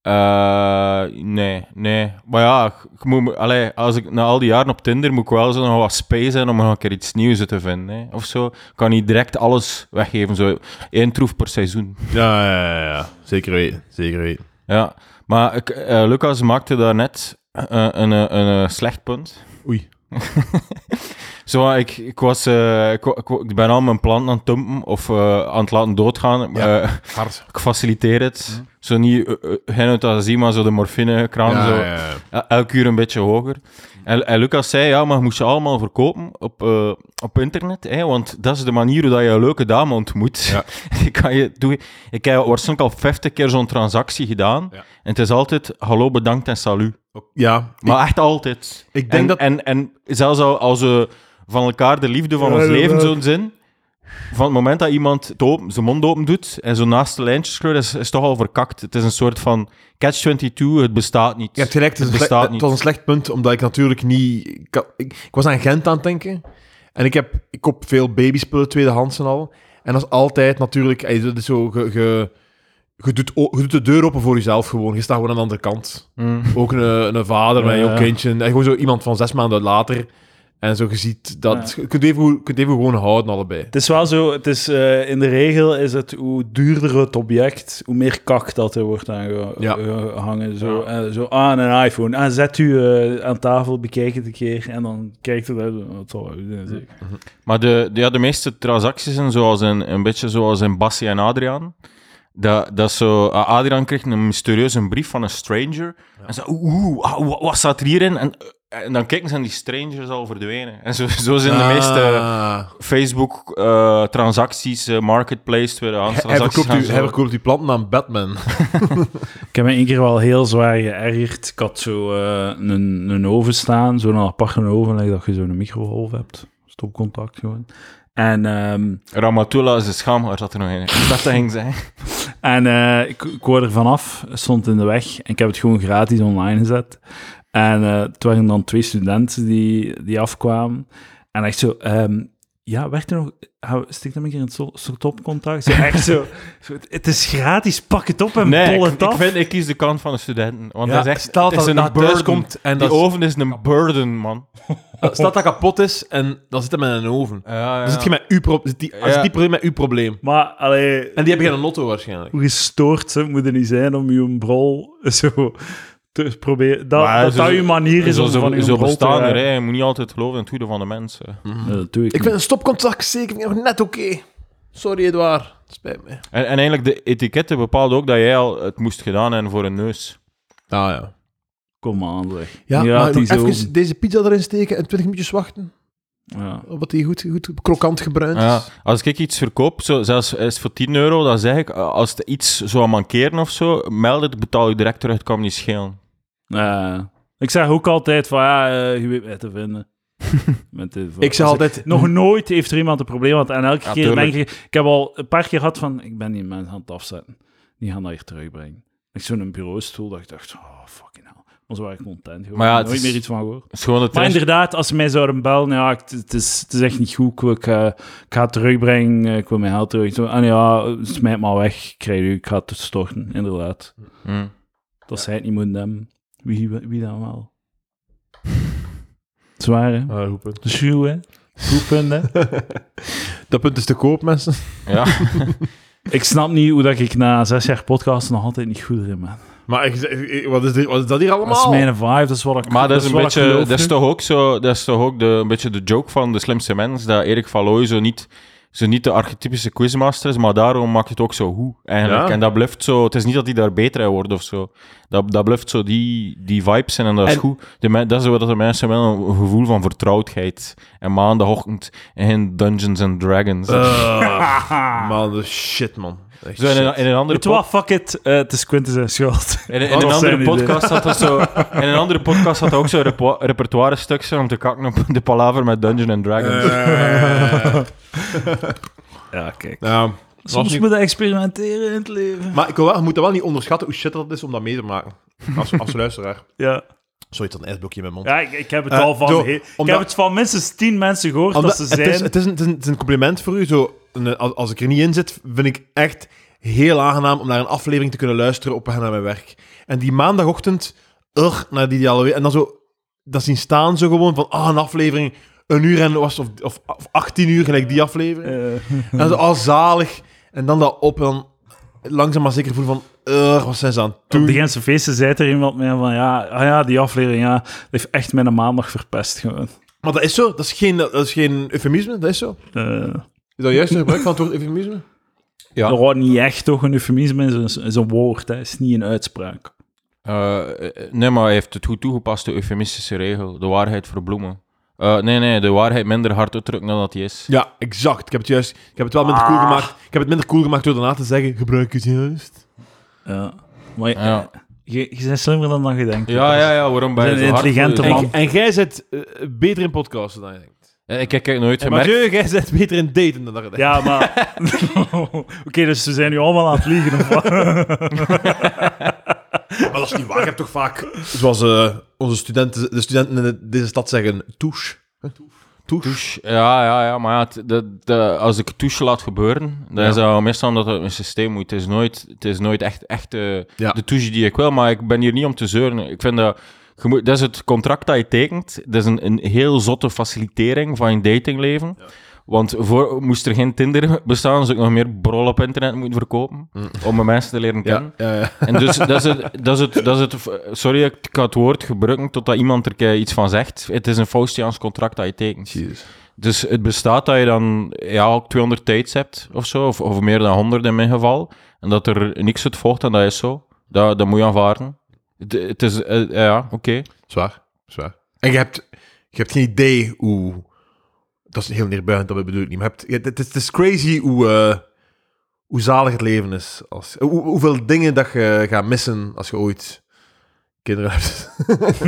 S3: Eh, nee, nee. Maar ja, ik moet, me- allee, als ik na al die jaren op Tinder moet ik wel zo nog wat space zijn om nog een keer iets nieuws te vinden. Hè. Of zo. Ik kan niet direct alles weggeven. Zo één troef per seizoen.
S2: Ja, ja, ja, ja. Zeker weten. Zeker weten.
S3: Ja. Maar ik, eh, Lucas maakte daarnet eh, een, eh, een, eh, slecht punt.
S2: Oei.
S3: *laughs* Zo, ik, ik, was, eh, ik, wa- ik wa- ik ben al mijn planten aan het dumpen of eh, aan het laten doodgaan.
S2: Ja.
S3: Eh,
S2: Hard.
S3: ik faciliteer het.
S2: Mhm.
S3: Zo niet eh, eh, geen euthanasie, maar zo de morfinekraan. zo. El- elk uur een beetje hoger. En, en Lucas zei, ja, maar je moet ze allemaal verkopen op, eh, op internet, hè, want dat is de manier hoe dat je een leuke dame ontmoet. *laughs*
S2: Ja.
S3: Die kan je doen. Ik heb waarschijnlijk al 50 keer zo'n transactie gedaan,
S2: Ja.
S3: en het is altijd hallo, bedankt en salut.
S2: Ja,
S3: Maar echt altijd.
S2: ik denk
S3: En,
S2: dat...
S3: en, en zelfs al- als we van elkaar de liefde van
S1: Ja,
S3: ons leven
S1: inderdaad.
S3: zo'n zin, van het moment dat iemand het open- zijn mond open doet en zo naast de lijntjes kleurt, is, is toch al verkakt. Het is een soort van catch-22, het bestaat niet.
S2: Je hebt gelijk, het, is een
S3: Het
S2: slecht-
S3: bestaat
S2: het was een slecht punt, omdat ik natuurlijk niet... Ik, had- ik, ik was aan Gent aan het denken. En ik, heb, ik koop veel babyspullen, tweedehands en al. En dat is altijd natuurlijk... ey, Dat is zo, ge, ge- je, doet, o- je doet de deur open voor jezelf gewoon. Je staat gewoon aan de andere kant.
S3: Mm.
S2: Ook een, een vader met een jong
S1: Ja.
S2: kindje. En gewoon zo iemand van zes maanden later. En zo, je ziet dat... Je kunt even, je kunt even gewoon houden, allebei.
S1: Het is wel zo, het is, eh, in de regel is het hoe duurder het object, hoe meer kak dat er wordt
S2: Ja.
S1: aangehangen. Zo, eh, zo aan een iPhone. Ah, zet u eh, aan tafel, bekijk het een keer en dan kijkt het uit. Oh, het zal wel goed zijn, zeker.
S3: Maar de, de, ja, de meeste transacties zijn zoals in, een beetje zoals in Bassi en Adriaan. Dat, dat zo, ah, Adriaan kreeg een mysterieuze brief van een stranger. En zei, oeh, oeh, ah, wa- wat staat er hierin? En, eh, en dan kijken ze en die stranger is al verdwenen. En zo, zo zijn de meeste
S2: Ah.
S3: Facebook-transacties, eh, marketplace, tweedehands
S2: Hij
S3: transacties.
S2: verkoopt, u,
S3: gaan zo-
S2: hij verkoopt uw planten aan Batman.
S1: Ik heb me één keer wel heel zwaar geërgerd. Ik had zo eh, een, een oven staan, zo'n aparte oven, like dat je zo'n microgolf hebt. Stopcontact gewoon. En ehm,
S3: Ramatullah is de schaamhaar, zat er nog
S2: *laughs*
S3: in. Ik dacht dat ging zijn.
S1: En eh, ik, ik hoorde er vanaf, het stond in de weg. En ik heb het gewoon gratis online gezet. En eh, het waren dan twee studenten die, die afkwamen. En echt zo, ehm, Ja, werkt er nog... Hou- Stik hem een keer in het so- soort opcontact. Zo, echt zo, *laughs* zo, Het is gratis, pak het op en
S3: Nee,
S1: pol
S3: ik,
S1: het
S3: ik,
S1: af.
S3: vind, ik kies de kant van de studenten. Want
S2: Ja,
S3: dat is echt...
S2: staat
S3: het is
S2: dat
S3: een
S2: dat thuis
S3: burden.
S2: komt en
S3: Die
S2: dat,
S3: oven is een burden, man.
S2: eh, staat dat kapot is en dan zit hij met een oven.
S3: Ja,
S2: Dan zit je met uw pro- zit die,
S3: Ja.
S2: zit die probleem met uw probleem.
S1: Maar, allee...
S2: En die hebben geen lotto waarschijnlijk.
S1: hoe gestoord ze moeten niet zijn om je brol zo te proberen. Dat
S3: Maar
S1: dat,
S3: zo-
S1: dat je manier is
S3: zo,
S1: om van eh?
S3: zo,
S1: je
S3: zo
S1: brol te
S3: bestaan er,
S1: raken.
S3: hè. Je moet niet altijd geloven in het goede van de mensen.
S1: Ja, dat doe ik,
S2: Ik
S1: niet.
S2: vind een stopcontactverzekering nog net oké. Sorry, Edouard. Spijt me.
S3: En, en eigenlijk, de etiketten bepaalde ook dat jij al het moest gedaan hebben voor een neus.
S2: Ah ja.
S1: Kom aan, zeg.
S2: Ja,
S1: Ja,
S2: maar
S1: het is
S2: nog even
S1: open.
S2: deze pizza erin steken en 20 minuutjes wachten.
S1: Ja.
S2: Wat die goed, goed krokant gebruind is.
S3: Ja, als ik iets verkoop, zo, zelfs eh, is het voor 10 euro, dan zeg ik, eh, als er iets zou mankeren of zo, meld het, betaal ik direct terug, het kan me niet schelen.
S1: Eh, ik zeg ook altijd van, ja, eh, je weet mij te
S2: *laughs*
S1: vinden. Met dit,
S2: Ik zeg
S1: Als ik-
S2: altijd...
S1: Nog nooit heeft er iemand een probleem gehad. En elke
S3: Ja,
S1: keer
S3: tuurlijk.
S1: denk ik... Ik heb al een paar keer gehad van... Ik ben die mensen aan het afzetten. Die gaan dat hier terugbrengen. Ik zo'n bureaustoel dat ik dacht... Oh, fucking hell. Maar zo waren ik content. geworden.
S3: Maar ja, het
S1: nooit
S3: is-
S1: meer iets van gehoord.
S3: Het is gewoon het
S1: Maar
S3: rest-
S1: inderdaad, als ze mij zouden bellen, ja, ik- het is, het is echt niet goed. Ik, wil- ik, eh, ik ga het terugbrengen, eh, ik wil mijn geld terug. Zo, En ja, smijt maar weg, ik krijg u, ik ga het storten, inderdaad.
S3: Hm.
S1: Dat zij het niet moeten hebben. Wie, wie dan wel? Zwaar, hè?
S2: Ah, goed punt.
S1: De schuw, hè? Goed punt, hè?
S2: *laughs* Dat punt is te koop, mensen.
S3: *laughs* Ja.
S1: *laughs* Ik snap niet hoe dat ik na zes jaar podcast nog altijd niet goed erin ben.
S2: Maar ik- ik- wat is, dit, wat is dat hier allemaal?
S1: Dat is mijn vibe, dat is wat ik
S3: Maar dat is, een
S1: wat ik
S3: beetje,
S1: geloof
S3: dat is
S1: nu.
S3: toch ook, zo, dat is toch ook de, een beetje de joke van de slimste mens, dat Erik Valooi zo niet, zo niet de archetypische quizmaster is, maar daarom maakt het ook zo hoe, eigenlijk.
S2: Ja.
S3: En dat bluft zo, het is niet dat hij daar beter in wordt of zo. Dat, dat bluft zo die, die vibes in en dat is
S2: En-
S3: goed. De, men- dat is wat de mensen wel een gevoel van vertrouwdheid. En maandagochtend in Dungeons and Dragons.
S2: Eh, man, dat is shit, man. Echt
S3: zo in, een,
S2: shit.
S3: in een andere
S1: Weet je wat, fuck it, eh, het is Quinten zijn schuld.
S3: In,
S1: Dat
S3: in een
S1: was
S3: andere
S1: zijn idee.
S3: podcast had dat zo, in een andere podcast had dat ook zo'n repo- repertoire stuk zijn om te kakken op *laughs* de palaver met Dungeons and Dragons.
S2: Eh,
S1: Ja, kijk.
S2: ja.
S1: Soms
S2: niet-
S1: moet je experimenteren in het leven.
S2: Maar ik wil wel, je moet dat wel niet onderschatten hoe shit dat is om dat mee te maken. Als, als luisteraar.
S1: Ja.
S2: Sorry, tot een ijsblokje in mijn mond.
S1: Ja, ik, ik heb het
S2: Eh,
S1: al van...
S2: zo,
S1: he- ik
S2: omdat-
S1: heb het van minstens tien mensen gehoord
S2: Omdat-
S1: dat ze
S2: het,
S1: zijn...
S2: is, het, is een, het, is een, het is een compliment voor u. Zo, een- als, als ik er niet in zit, vind ik echt heel aangenaam om naar een aflevering te kunnen luisteren op weg naar mijn werk. En die maandagochtend, ugh, naar die dialoog. En dan zo, dat zien staan zo gewoon van, ah, een aflevering, een uur en was of, of, of 18 uur, gelijk die aflevering.
S1: Eh,
S2: En dan zo, ah, zalig. En dan dat op en dan langzaam maar zeker voelen van, ugh, wat zijn ze aan het
S1: op de
S2: doen?
S1: Gentse feesten zei er iemand mij van... Ja, ah ja, die aflevering, ja, dat heeft echt mijn maandag verpest. Gewoon.
S2: Maar dat is zo, dat is geen, dat is geen eufemisme, dat is zo.
S1: Eh,
S2: Is dat juist een gebruik van het woord eufemisme? Ja.
S1: Er wordt niet echt toch een eufemisme in zo'n- in zo'n woord. Het is niet een uitspraak.
S3: Eh, eh, nee, maar hij heeft het goed toegepast, de eufemistische regel. De waarheid verbloemen. Eh nee, nee, de waarheid minder hard uitdrukken dan dat die is.
S2: Ja, exact. Ik heb het juist. Ik heb het wel minder cool gemaakt. Ik heb het minder cool gemaakt door daarna te zeggen: gebruik het juist.
S1: Ja. Maar je-
S3: Ja,
S1: je, je bent slimmer dan dat je denkt.
S3: ja, ja, ja, waarom ben je
S1: Zijn
S3: zo hard
S1: intelligente
S3: voor-
S1: man.
S2: En, en jij zit eh, beter in podcasten dan je denkt.
S3: Eh, Ik, ik, ik heb nooit
S2: En
S3: gemerkt...
S2: Mathieu, jij zit beter in daten dan dat je denkt.
S1: Ja, *laughs* maar... Oké, dus we zijn nu allemaal aan het liegen. Of wat?
S2: Maar dat is niet waar. Ik heb toch vaak. Zoals eh, onze studenten, de studenten in de- deze stad zeggen: touche. Touche.
S3: Touche. Ja, ja, ja, maar ja, het- de, de- als ik touche laat gebeuren, dan
S2: Ja.
S3: is dat meestal omdat het mijn systeem moet. Het is nooit, het is nooit echt, echt eh,
S2: Ja.
S3: de touche die ik wil, maar ik ben hier niet om te zeuren. Ik vind dat, je moet, dat is het contract dat je tekent. Dat is een, een heel zotte facilitering van je datingleven. Want voor, moest er geen Tinder bestaan, zou ik nog meer brol op internet moeten verkopen om mijn mensen te leren kennen.
S2: Mm. Ja, ja, ja.
S3: En dus dat is het, dat is het, dat is het sorry, ik kan het woord gebruiken totdat iemand er een keer iets van zegt. Het is een Faustiaans contract dat je tekent. Dus het bestaat dat je dan ja, ook 200 dates hebt of zo, of, of meer dan 100 in mijn geval. En dat er niks uit volgt en dat is zo. Dat, dat moet je aanvaarden. Het, het is, eh, ja, oké.
S2: Zwaar. Zwaar. En je hebt, je hebt geen idee hoe. Dat is heel neerbuigend, dat bedoel ik niet. Maar je hebt, je- het, is, het is crazy hoe, eh, hoe zalig het leven is. Als, hoe, hoeveel dingen dat je gaat missen als je ooit kinderen hebt. *laughs*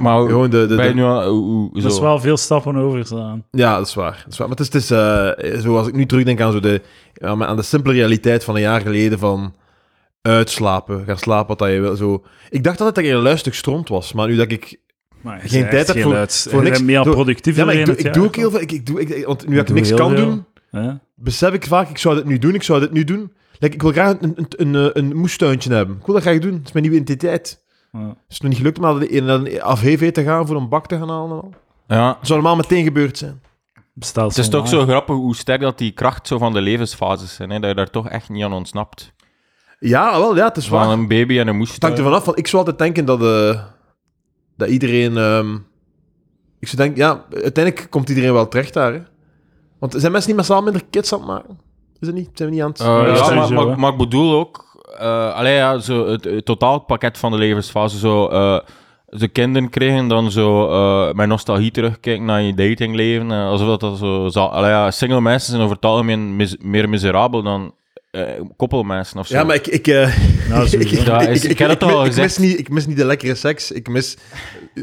S3: Maar hoe-
S2: Gewoon de, de,
S3: ben je
S2: de-
S3: nu al, hoe- hoe-
S1: Dat is
S3: zo.
S1: wel veel stappen over staan.
S2: ja, dat is waar. Dat is waar. Maar het is, het is eh, zoals ik nu terugdenk aan, zo de, aan mijn- aan de simpele realiteit van een jaar geleden van uitslapen, gaan slapen wat dat je wil. Zo. Ik dacht altijd dat ik een luisterlijk stront was, maar nu dat ik
S1: Maar je
S2: Geen
S1: bent
S2: tijd
S1: echt
S2: hebt voor-
S1: luids.
S2: voor
S1: Je
S2: niks.
S1: bent meer
S2: Doe-
S1: productief
S2: Ja, maar ik
S1: doorheen
S2: doe,
S1: het
S2: ik doe
S1: jaar.
S2: ook heel veel. Ik, ik doe, ik, want nu
S1: Ik
S2: ik
S1: doe
S2: niks
S1: heel
S2: kan
S1: veel.
S2: doen,
S1: Ja.
S2: besef ik vaak, ik zou dit nu doen, ik zou dit nu doen. Like, ik wil graag een, een, een, eh, een moestuintje hebben. Ik wil dat graag doen. Dat is mijn nieuwe identiteit.
S1: Ja.
S2: Is het nog niet gelukt om naar de- naar een AVV te gaan voor een bak te gaan halen? en al?
S3: Ja.
S2: Dat zou normaal meteen gebeurd zijn.
S1: Bestel
S3: Het is
S1: online.
S3: toch zo grappig hoe sterk dat die kracht zo van de levensfases zijn, hè, dat je daar toch echt niet aan ontsnapt.
S2: Ja, wel, ja, het is
S3: Van
S2: waar.
S3: een baby en een
S2: Het hangt
S3: moestuin.
S2: ervan af, want ik zou altijd denken dat, eh, dat iedereen... ehm, ik zou denken, ja, uiteindelijk komt iedereen wel terecht daar. Hè? Want zijn mensen niet massaal minder kids aan het maken? Is het niet? Zijn we niet aan het...
S3: Eh,
S1: Ja,
S3: ja,
S1: sowieso,
S3: maar, maar,
S1: hè.
S3: maar ik bedoel ook, eh allee, ja, zo het, het totaalpakket van de levensfase, zo, eh ze kinderen krijgen, dan zo eh met nostalgie terugkijken naar je datingleven, eh, alsof dat, dat zo... zal- Allee, ja, single mensen zijn over het algemeen mis- meer miserabel dan eh koppelmensen of zo.
S2: Ja, maar ik... ik, eh,
S1: Nou,
S2: ik, *laughs*
S1: sowieso.
S3: Ja, is- ik heb het al
S2: mis- ik, mis
S3: gezegd.
S2: niet, ik mis niet de lekkere seks. Ik mis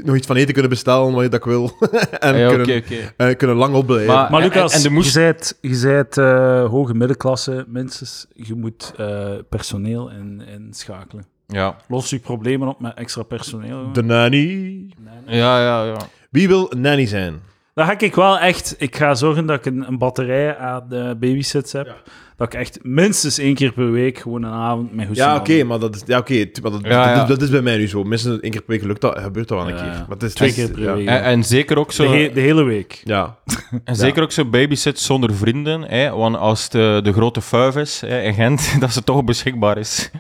S2: nog iets van eten kunnen bestellen wanneer dat ik wil. *laughs* en
S3: Ja, oké,
S2: kunnen,
S3: oké.
S2: eh, kunnen lang opblijven.
S3: Maar-
S1: Maar
S3: En-
S1: Lucas,
S3: en- en de moest-
S1: je zijt, je zijt, eh, hoge middenklasse mensen. Je moet eh, personeel in, in schakelen.
S3: Ja,
S1: Los je problemen op met extra personeel.
S2: De nanny.
S3: ja, ja. ja.
S2: Wie wil nanny zijn?
S1: Dan ga ik wel echt... Ik ga zorgen dat ik een, een batterij aan de babysits heb. Dat ik echt minstens één keer per week gewoon een avond met Hoesje
S2: Ja, oké, maar dat is, ja, oké, tu- maar dat,
S3: Ja,
S2: dat-
S3: ja.
S2: Dat, dat is bij mij nu zo. Minstens één keer per week lukt dat, gebeurt dat wel een
S1: Ja,
S2: keer.
S1: ja.
S2: Maar het is
S1: Twee
S2: het is-
S1: keer per
S2: ja.
S1: week.
S3: En, en zeker ook
S1: de,
S3: zo...
S1: he- de hele week.
S2: Ja.
S3: En zeker ook zo babysit zonder vrienden, hè? want als het eh, de grote vuif is hè, in Gent, *laughs* dat ze toch beschikbaar is.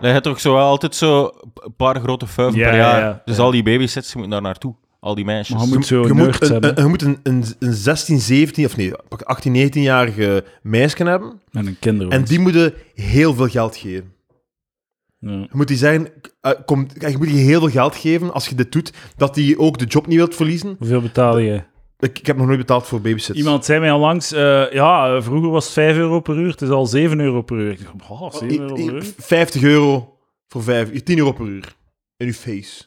S3: Je hebt toch zo wel altijd zo een paar grote vuiven
S1: Ja,
S3: per
S1: ja,
S3: jaar.
S1: ja.
S3: dus al die babysits moeten daar naartoe, al die meisjes.
S1: Maar je moet zo
S2: je, moet
S1: nerds
S2: een,
S1: hebben.
S2: een, je moet een, een, een 16, 17, of nee, pak 18, 19-jarige meisje hebben.
S1: Met een kinderwens.
S2: En die moeten heel veel geld geven.
S1: Ja.
S2: Je moet die zeggen, eh, kom, kijk, je moet die heel veel geld geven als je dit doet, dat die ook de job niet wilt verliezen.
S1: Hoeveel betaal je?
S2: Ik, ik heb nog nooit betaald voor babysits.
S1: Iemand zei mij onlangs, eh ja, eh, vroeger was het 5 euro per uur, het is al 7 euro per uur. Ik dacht, oh, 7 euro per
S2: I- i-
S1: uur?
S2: 50 euro voor 5, 10 euro per uur. In uw face.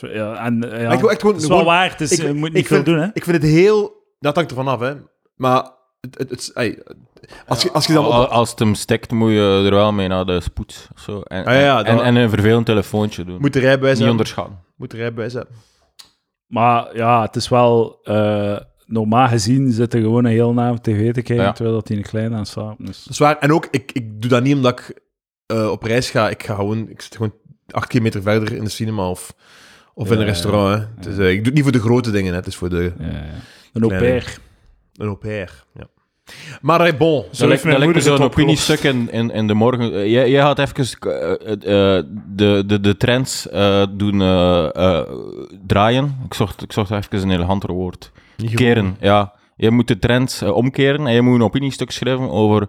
S1: Ja, en, eh, ja.
S2: Maar ik wil echt gewoon-
S1: het is wel
S2: gewoon-
S1: waar, het is, je moet niet veel
S2: vind,
S1: doen, hè.
S2: Ik vind het heel... Dat hangt er vanaf, hè. Maar het, het, het- ey, als, je, als je dan...
S3: Al-
S2: op-
S3: al- Als het hem stikt, moet je er wel mee naar de spoed. of Zo. En,
S2: Ah, ja, ja,
S3: en,
S2: dat-
S3: en een vervelend telefoontje doen.
S2: moet de rijbewijs
S3: Niet
S2: hebben.
S3: onderschatten.
S2: Moet de rijbewijs hebben.
S1: Maar ja, het is wel... eh, normaal gezien zit er gewoon een heel naam tv te kijken,
S3: Ja.
S1: terwijl dat hij een klein aan slaapt. Dus.
S2: Dat is waar. En ook, ik, ik doe dat niet omdat ik eh, op reis ga. Ik ga gewoon... Ik zit gewoon acht kilometer verder in de cinema of, of in
S1: Ja,
S2: een restaurant, hè. Het is, eh, ik doe het niet voor de grote dingen, hè. Het is voor de...
S1: Ja, ja. Een au
S2: Kleine.
S1: pair.
S2: Een au pair, ja. Maar eh, bon...
S1: Zo
S3: Zo
S1: heeft
S3: lijkt,
S1: mijn
S3: dat lijkt me
S1: moeder
S3: zo'n
S1: het opgelost.
S3: opiniestuk in, in, in de morgen. Eh, jij, jij had even eh, eh, eh, de, de, de trends eh, doen eh, eh, draaien. Ik zocht, ik zocht even een eleganter woord.
S2: Niet
S3: Keren, ja. Je moet de trends eh, omkeren en je moet een opiniestuk schrijven over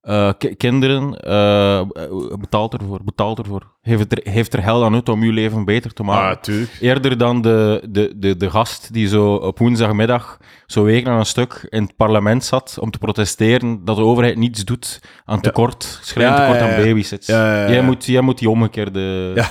S3: eh, ki- kinderen. eh, eh, betaalt ervoor, betaalt ervoor. Heeft er, heeft er hel aan uit om je leven beter te maken.
S2: Ah, tuurlijk.
S3: Eerder dan de, de, de, de gast die zo op woensdagmiddag zo week na een stuk in het parlement zat om te protesteren dat de overheid niets doet aan tekort, schrijnend
S2: Ja,
S3: tekort
S2: ja, ja.
S3: aan babysits.
S2: Ja, ja, ja.
S3: Jij, moet, jij moet die omgekeerde
S2: Ja.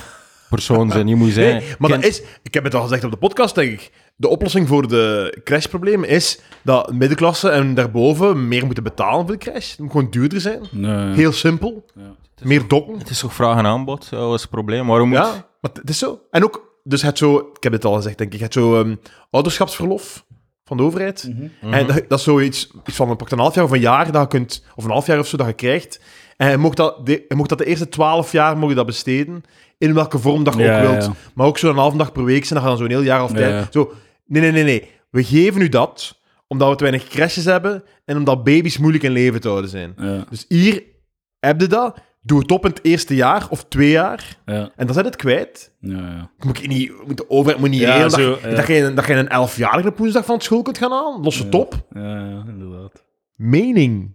S3: persoon zijn. Je moet zijn.
S2: Nee, maar dat is, ik heb het al gezegd op de podcast, denk ik. De oplossing voor de crashprobleem is dat middenklasse en daarboven meer moeten betalen voor de crash. Het moet gewoon duurder zijn.
S1: Nee.
S2: Heel simpel.
S1: Ja.
S2: Meer dokken.
S3: Het is toch vraag en aanbod? Dat was het probleem. Waarom moet...
S2: Ja, maar het is zo. En ook, dus het zo, ik heb het al gezegd, denk ik, het zo ehm, ouderschapsverlof van de overheid. En
S1: Mhm.
S2: dat, dat is zoiets iets van een, pakt een half jaar of een jaar dat je kunt, of een half jaar of zo dat je krijgt. En je mocht dat de, je mocht dat de eerste twaalf jaar mocht je dat besteden, in welke vorm dat je
S1: Ja,
S2: ook
S1: ja,
S2: wilt.
S1: ja.
S2: Maar ook zo'n halve dag per week zijn, dan gaan zo'n heel jaar of
S1: Ja,
S2: tijd.
S1: ja.
S2: Zo, nee, nee, nee, nee. We geven u dat omdat we te weinig crashes hebben en omdat baby's moeilijk in leven te houden zijn.
S1: Ja,
S2: Dus hier heb je dat. Doe het op in het eerste jaar of twee jaar.
S1: ja,
S2: En dan zijn het kwijt.
S1: ja, ja.
S2: Moet ik niet, moet de overheid moet niet
S1: Ja,
S2: heel
S1: zo,
S2: dag,
S1: ja.
S2: dat, je, dat je een elfjarige op woensdag van school kunt gaan halen. Losse
S1: Ja.
S2: top.
S1: Ja, ja, inderdaad.
S2: Mening.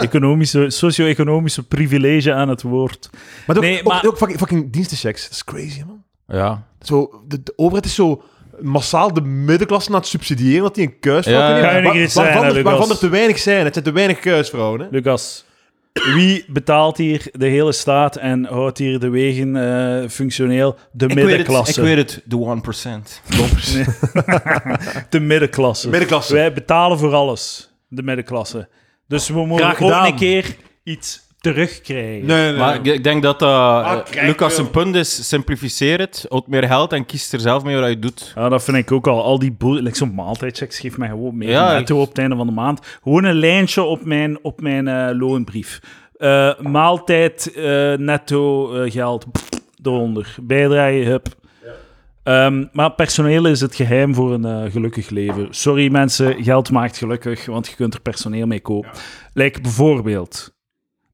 S1: Economische, socio-economische privilege aan het woord.
S2: Maar ook,
S1: Nee,
S2: ook-
S1: maar-
S2: ook, fucking, fucking dienstenchecks. Dat is crazy, man.
S3: Ja.
S2: Zo, de, de overheid is zo massaal de middenklasse aan het subsidiëren dat die een kuisvrouw
S3: Ja.
S2: kunnen
S1: Kan je
S2: hebben.
S1: niet eens zijn,
S2: waarvan,
S1: hè,
S2: er, waarvan
S1: Lucas?
S2: er te weinig zijn. Het zijn te weinig kuisvrouwen. Hè?
S1: Lucas, wie betaalt hier de hele staat en houdt hier de wegen eh, functioneel? De
S3: Ik weet, het, ik
S1: middenklasse.
S3: weet het, de 1%.
S1: De middenklasse.
S2: Middenklasse.
S1: Wij betalen voor alles, de middenklasse. Dus we mogen
S2: Graag
S1: ook
S2: gedaan.
S1: een keer iets terugkrijgen.
S2: Nee,
S3: Maar ik, ik denk dat dat... eh,
S2: Ah, kijk,
S3: Lucas,
S2: joh.
S3: zijn punt is, simplificeer het, houd meer geld en kies er zelf mee wat je doet.
S1: Ja, dat vind ik ook al. Al die boel, like zo'n maaltijdchecks geeft mij gewoon meer
S3: Ja,
S1: netto
S3: ik-
S1: op het einde van de maand. Gewoon een lijntje op mijn, op mijn eh, loonbrief. Eh, maaltijd, eh, netto, eh, geld, pff, eronder. Bijdraaien, hup. Ehm, maar personeel is het geheim voor een eh, gelukkig leven. Sorry mensen, geld maakt gelukkig, want je kunt er personeel mee kopen. Like bijvoorbeeld...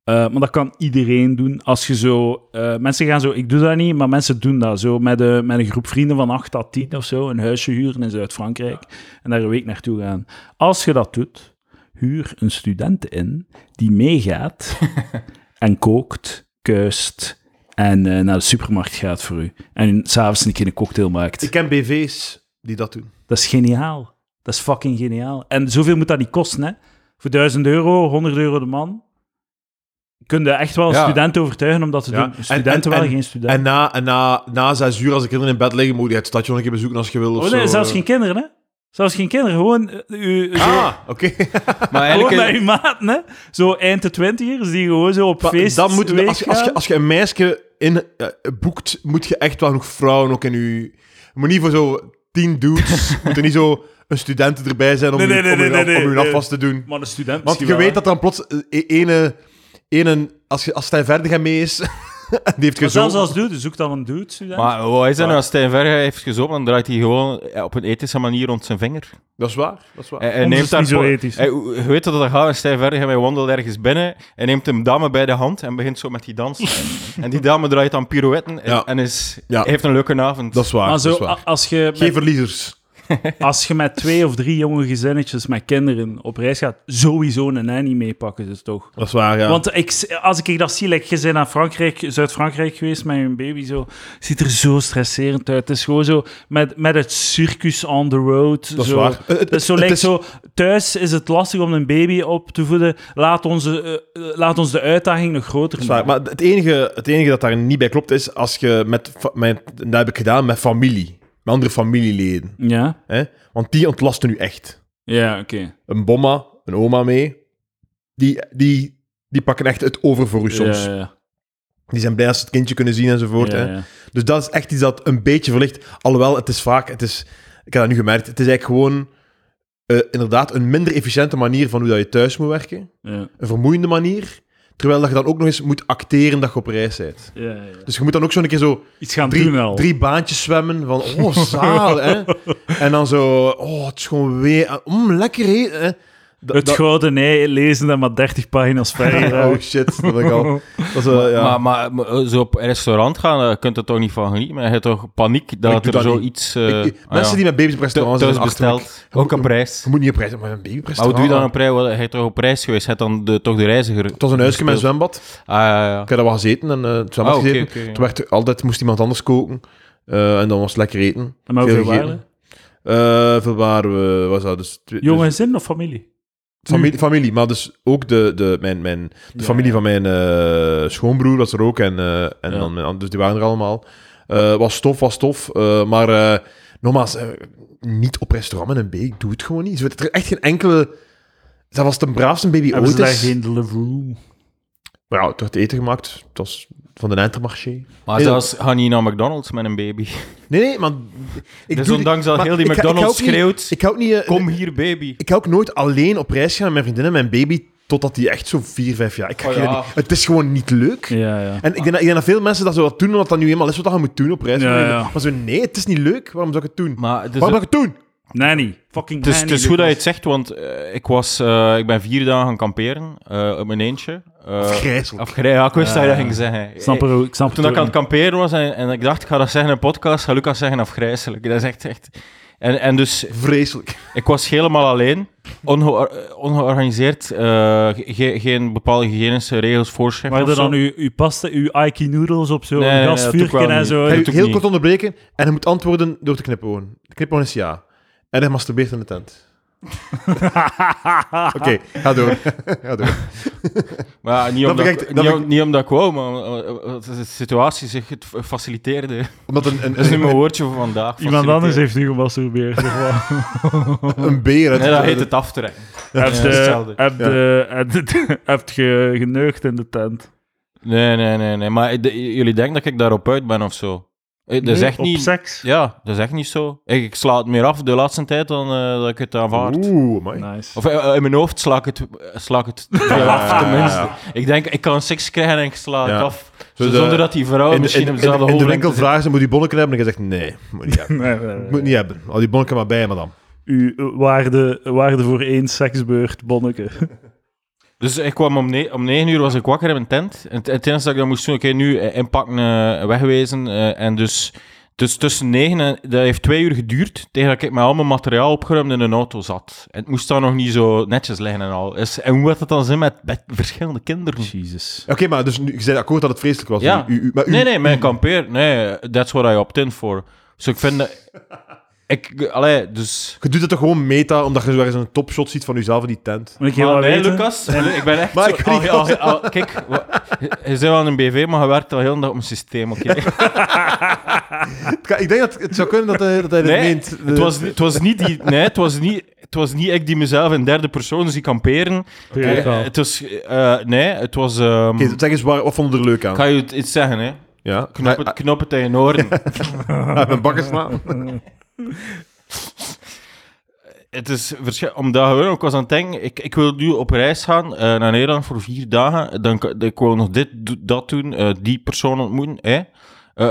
S1: eh, maar dat kan iedereen doen. Als je zo... eh, mensen gaan zo... Ik doe dat niet, maar mensen doen dat. Zo met, eh, met een groep vrienden van 8 tot 10 of zo. Een huisje huren in Zuid-Frankrijk. En daar een week naartoe gaan. Als je dat doet, huur een student in die meegaat en kookt, kuist en eh, naar de supermarkt gaat voor u. En s'avonds een keer een cocktail maakt.
S2: Ik ken BV's die dat doen.
S1: Dat is geniaal. Dat is fucking geniaal. En zoveel moet dat niet kosten, hè? Voor 1000 euro, 100 euro de man. Kun je echt wel een
S3: Ja.
S1: student overtuigen om dat te
S2: Ja.
S1: doen.
S2: En-
S1: Studenten
S2: en-
S1: wel, geen student.
S2: En, na, en na, na zes uur, als de kinderen in bed liggen, moet je het stadje nog een keer bezoeken als je wil. Of
S1: oh, nee,
S2: zo.
S1: zelfs geen kinderen, hè? Zelfs geen kinderen. Gewoon, eh, u, zo-
S2: Ah, oké.
S3: *laughs* Maar
S1: gewoon
S3: eigenlijk...
S1: met uw maten, hè? Zo eind de twintigers die gewoon zo op
S2: Maar
S1: feest
S2: dan moeten we, als, je- als, je,
S1: gaan.
S2: als je een meisje in, eh, boekt, moet je echt wel nog vrouwen ook in je... je moet niet voor zo
S1: *laughs*
S2: tien dudes, moet er niet zo een student erbij zijn om
S1: Nee,
S2: je
S1: nee, nee,
S2: om je
S1: nee,
S2: af-
S1: nee,
S2: om je
S1: nee.
S2: afwas te doen.
S1: Maar een student
S2: Want
S1: misschien
S2: je
S1: wel,
S2: weet
S1: hè.
S2: dat dan plots eh, e- ene... ene als, je, als Stijn Verdega mee is, *laughs* die heeft
S1: Maar zelfs
S2: gezogen.
S1: als dude, zoek dan een dude, student.
S3: Maar wat is dat nou? Als Stijn Verge heeft gezopen, dan draait hij gewoon eh, op een ethische manier rond zijn vinger.
S2: Dat is waar, dat is waar.
S3: Hij, hij
S1: Ons
S3: neemt
S1: is
S3: daar
S1: niet zo
S3: voor-
S1: ethisch.
S3: hij- je weet dat dat gaat, en Stijn Verge hij wandelt ergens binnen en neemt een dame bij de hand en begint zo met die *laughs* dans. en die dame draait dan pirouetten en,
S2: Ja.
S3: en is,
S2: Ja.
S3: heeft een leuke avond.
S2: Dat is waar,
S1: Maar zo, ah,
S2: dat is waar.
S1: a- als je met
S2: Geen verliezers.
S1: Als je met twee of drie jonge gezinnetjes met kinderen op reis gaat, sowieso een nanny meepakken, dus toch?
S2: Dat is waar, ja.
S1: Want ik, als ik dat zie, like, je bent naar Frankrijk, Zuid-Frankrijk geweest met je baby, zo, ziet er zo stresserend uit. Het is gewoon zo met, met het circus on the road.
S2: dat is
S1: zo.
S2: waar. Eh,
S1: Het is zo,
S2: het
S1: lijkt
S2: is-
S1: zo, thuis is het lastig om een baby op te voeden. Laat, onze, eh, eh, laat ons de uitdaging nog groter
S2: Dat
S1: maken.
S2: is waar. Maar het enige, het enige dat daar niet bij klopt is als je met, fa- met en dat heb ik gedaan met familie, met andere familieleden,
S1: Ja,
S2: hè? Want die ontlasten nu echt.
S1: ja oké.
S2: Een bomma, een oma mee, die, die, die pakken echt het over voor u soms.
S1: Ja, ja.
S2: Die zijn blij als ze het kindje kunnen zien enzovoort.
S1: Ja,
S2: hè?
S1: ja.
S2: Dus dat is echt iets dat een beetje verlicht. Alhoewel, het is vaak, het is, ik heb dat nu gemerkt, het is eigenlijk gewoon eh, inderdaad een minder efficiënte manier van hoe dat je thuis moet werken,
S1: Ja,
S2: een vermoeiende manier. Terwijl dat je dan ook nog eens moet acteren dat je op reis bent.
S1: ja, ja, ja.
S2: Dus je moet dan ook zo een keer zo
S1: Iets gaan doen
S2: drie,
S1: al. *laughs*
S2: drie baantjes zwemmen van oh, zaal, hè. En dan zo, oh, het is gewoon weer... Mm, lekker, hè. hè. Da-
S1: Het
S2: da-
S1: gouden ei lezen en maar 30 pagina's verder.
S2: *laughs* Oh, shit, dat ben ik al. Dat is, eh, ja.
S3: Maar, maar, maar zo op een restaurant gaan, daar kunt er toch niet van genieten. Maar je hebt toch paniek
S2: Ik
S3: dat
S2: doe
S3: er
S2: dat
S3: zoiets... eh,
S2: Ik-
S3: ah
S2: mensen
S3: ja,
S2: die met baby's op
S3: thu-
S2: restaurants
S3: thuis
S2: zijn achterlijk.
S3: besteld, ook op reis.
S2: Je moet niet op reis, maar een baby op
S3: Maar hoe
S2: restaurant.
S3: doe je dan op reis? Wel, Je hebt toch op reis geweest? Je hebt dan de, toch de reiziger...
S2: Het was een huisje met een zwembad. Ik
S3: Ah, ja, ja.
S2: heb daar wel gezeten en eh, het zwembad
S3: Ah, oké,
S2: gezeten.
S3: oké, ja.
S2: Toen werd er- altijd moest iemand anders koken. eh, en dan was het lekker eten.
S1: En maar hoeveel
S2: gegeten.
S1: waren?
S2: Eh, veel waren we, was dat dus... twee-
S1: Jonge zin of familie?
S2: Familie, familie, maar dus ook de, de, mijn, mijn, de
S1: Ja.
S2: familie van mijn eh, schoonbroer was er ook. En, eh, en
S1: Ja.
S2: dan mijn, an- dus die waren er allemaal. Eh, was tof, was tof. eh, maar eh, nogmaals, eh, niet op restaurant met een baby. Ik doe het gewoon niet. Zo, het- er echt geen enkele... Dat was de braafste baby
S1: Hebben ze
S2: ooit
S1: daar
S2: is.
S1: geen Deliveroo?
S2: Maar ja, het werd eten gemaakt. Het was van de Intermarché.
S3: Maar
S2: Nee,
S3: zelfs ga niet naar McDonald's met een
S1: *laughs*
S3: baby.
S2: Nee, nee,
S3: *laughs*
S2: maar... Ik
S3: dus
S2: doe-
S3: ondanks dat
S2: maar
S3: heel die
S2: ik ga- ik ga
S3: McDonald's
S2: ook niet-
S3: schreeuwt,
S2: Ik hou ook niet... eh,
S3: kom hier baby.
S2: ik ga ook nooit alleen op reis gaan met mijn vriendinnen en mijn baby totdat die echt zo vier, vijf jaar... Ik ga
S3: Oh,
S2: geen-
S3: ja.
S2: Het is gewoon niet leuk.
S1: Ja, ja.
S2: En ik denk, dat, ik denk dat veel mensen dat zo wat doen, omdat dat nu eenmaal is wat je moet doen op reis.
S1: Ja, ja.
S2: Maar zo, nee, het is niet leuk. Waarom zou ik het doen?
S3: Maar dus het is,
S2: Waarom zou ik het doen?
S1: Nanny. Fucking
S3: het is,
S1: nanny.
S3: het is goed dat je het zegt, want eh, ik, was, eh, ik ben vier dagen gaan kamperen eh, op mijn eentje. Eh
S2: Grijselijk.
S3: of grij- ja, ik
S1: Ja,
S3: wist dat je dat
S1: ja.
S3: ging zeggen.
S1: Eh,
S3: Eh,
S1: Ik snap er ook. Ik snap het
S3: Toen dat ik aan
S1: ook
S3: het kamperen was en, en ik dacht, ik ga dat zeggen in een podcast, ga Lucas zeggen afgrijzelijk. Dat is echt... echt. En, en dus,
S2: Vreselijk.
S3: ik was helemaal alleen, ongeor- eh, ongeorganiseerd, eh, ge- geen bepaalde hygiënische regels,
S1: niet.
S3: voorschriften
S1: Maar
S3: of
S1: dan
S3: zo.
S1: uw, uw pasta, uw Aiki noodles op zo'n
S3: Nee, nee, nee, dat
S1: gasvuurken
S3: doe ik wel
S1: en
S3: niet.
S1: zo.
S2: Ga
S3: doe
S2: je
S3: ik
S2: heel
S3: niet. *laughs*
S2: kort onderbreken en je moet antwoorden door te knippen. En je moet antwoorden is ja. En hij masturbeert in de tent. Oké, ga door. ga door.
S3: Maar ja, niet,
S2: Dat
S3: omdat,
S2: vind ik
S3: ik,
S2: echt- dat
S3: niet,
S2: vind
S3: om- niet omdat ik wou, maar eh, eh, omdat de situatie zich het f-
S2: *laughs*
S3: faciliteerde.
S2: Omdat een, een,
S3: Dat is nu
S2: een,
S3: mijn woordje voor vandaag.
S1: Iemand anders
S3: faciliteren.
S1: heeft u gemasturbeerd. of
S3: *laughs*
S1: wat?
S2: een beer... uit-
S3: Nee, dat heet het aftrekken.
S1: Heb
S3: dat is
S1: je
S3: hetzelfde.
S1: heb de- heb de- *laughs* heb je geneugd in de tent?
S3: Nee, nee, nee, nee. Maar de- jullie denken dat ik daarop uit ben of zo? Eh, Dat is
S1: Nee,
S3: echt
S1: Op
S3: niet.
S1: seks?
S3: Ja, dat is echt niet zo. Ik, ik sla het meer af de laatste tijd dan eh, dat ik het aanvaard.
S2: Oeh, amai.
S1: Nice.
S3: Of eh, in mijn hoofd sla ik het, eh, sla ik het
S2: Ja,
S3: *laughs* af,
S2: ja,
S3: tenminste.
S2: ja.
S3: Ik denk, ik kan seks krijgen en ik sla
S2: Ja.
S3: het af.
S2: Zo de-
S3: zonder dat die vrouw
S2: In, de-
S3: Oh, misschien
S2: in,
S3: op
S2: in, in,
S3: dezelfde
S2: in de
S3: hoogte
S2: winkel vragen ze, moet je bonneken hebben? En je zegt, nee, moet
S3: *laughs*
S2: niet hebben.
S1: Nee, nee, nee.
S2: Moet niet hebben. Al die bonneken maar bij, madame.
S1: U eh, waarde, waarde voor één seksbeurt, bonneke.
S3: Dus ik kwam om, ne- om negen uur was ik wakker in mijn tent. En het het enige dat ik dan moest doen, oké, nu eh, inpakken, eh, wegwezen. eh, en dus, dus tussen negen en... Dat heeft twee uur geduurd, tegen dat ik met al mijn materiaal opgeruimd in een auto zat. En het moest dan nog niet zo netjes liggen en al. Dus, en hoe had het dan zin met, met verschillende kinderen?
S1: Jezus.
S2: Oké, maar dus nu, je zei akkoord dat het vreselijk was.
S3: Ja.
S2: U, u, maar u,
S3: nee, nee, mijn kampeer... Nee, that's what I opt in for. Dus ik vind... dat- Ik... Allee, dus...
S2: Je doet het toch gewoon meta, omdat je zo ergens een topshot ziet van jezelf in die tent.
S1: Moet ik heel
S3: Maar
S1: wat
S3: nee,
S1: weten?
S3: Lucas, ik ben echt
S2: Maar
S3: zo-
S2: ik weet niet
S3: al- al- al- Kijk, wa- je je bent wel aan een BV, maar je werkt al heel de dag op een systeem, oké?
S2: Het kan- Ik denk dat het zou kunnen dat hij, dat hij dit
S3: Nee,
S2: meent.
S3: het was, niet- het was niet die... Nee, het was niet... Het was niet ik die mezelf in derde persoon zie kamperen.
S1: Peer
S3: Eh,
S1: wel.
S3: het was... eh, nee, het was... ehm,
S2: Oké, dus zeg eens, waar, wat vond je er leuk aan?
S3: ik ga je iets zeggen, hè.
S2: Ja,
S3: Knop het, knop het tegen oren.
S2: uit mijn bakken
S3: *laughs*
S2: slaan.
S3: Het is verschil- omdat gewoon, ik was aan het denken, ik, ik wil nu op reis gaan eh, naar Nederland voor vier dagen. Dan, kan- ik wil nog dit, do- dat doen, eh, die persoon ontmoeten. Hè? Eh,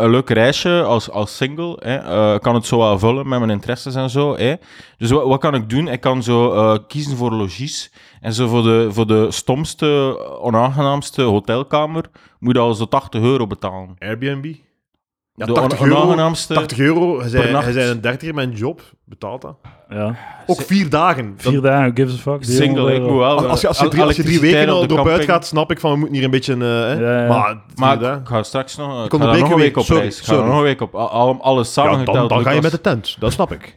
S3: een leuk reisje als, als single. Hè? Eh, kan het zo wel vullen met mijn interesses en zo. Hè? Dus wat, wat kan ik doen? Ik kan zo eh, kiezen voor logies. En zo voor de, voor de stomste, onaangenaamste hotelkamer moet je al zo 80 euro betalen.
S2: Airbnb? Ja,
S3: de
S2: 80
S3: on-
S2: euro.
S3: onaangenaamste...
S2: 80 euro. Hij
S3: per
S2: zei,
S3: nacht.
S2: hij zei een dertiger met een job. Betaalt dat?
S1: Ja.
S2: Ook vier dagen.
S1: Vier dagen, who gives a fuck. eh, Die
S3: Single, hè.
S1: honderd
S3: ik moet
S1: euro.
S3: wel... eh,
S2: Dan- als, je, als, je drie, als je drie
S3: elektriciteit
S2: weken
S3: op
S2: al
S3: de
S2: erop
S3: camping.
S2: uitgaat, snap ik van we moeten hier een beetje... eh, hè?
S1: Ja, ja.
S2: Maar, vier
S3: Maar
S2: dagen.
S3: ik ga straks nog, ik
S2: Ik
S3: ga daar
S2: onderbreek
S3: nog een
S2: je
S3: week
S2: weer.
S3: op
S2: Sorry,
S3: reis. Ik ga
S2: sorry.
S3: daar nog een week op. Al- al- Alles
S2: Ja,
S3: samengeteld.
S2: dan, dan ga je
S3: Lucas.
S2: met de tent. Dat snap ik.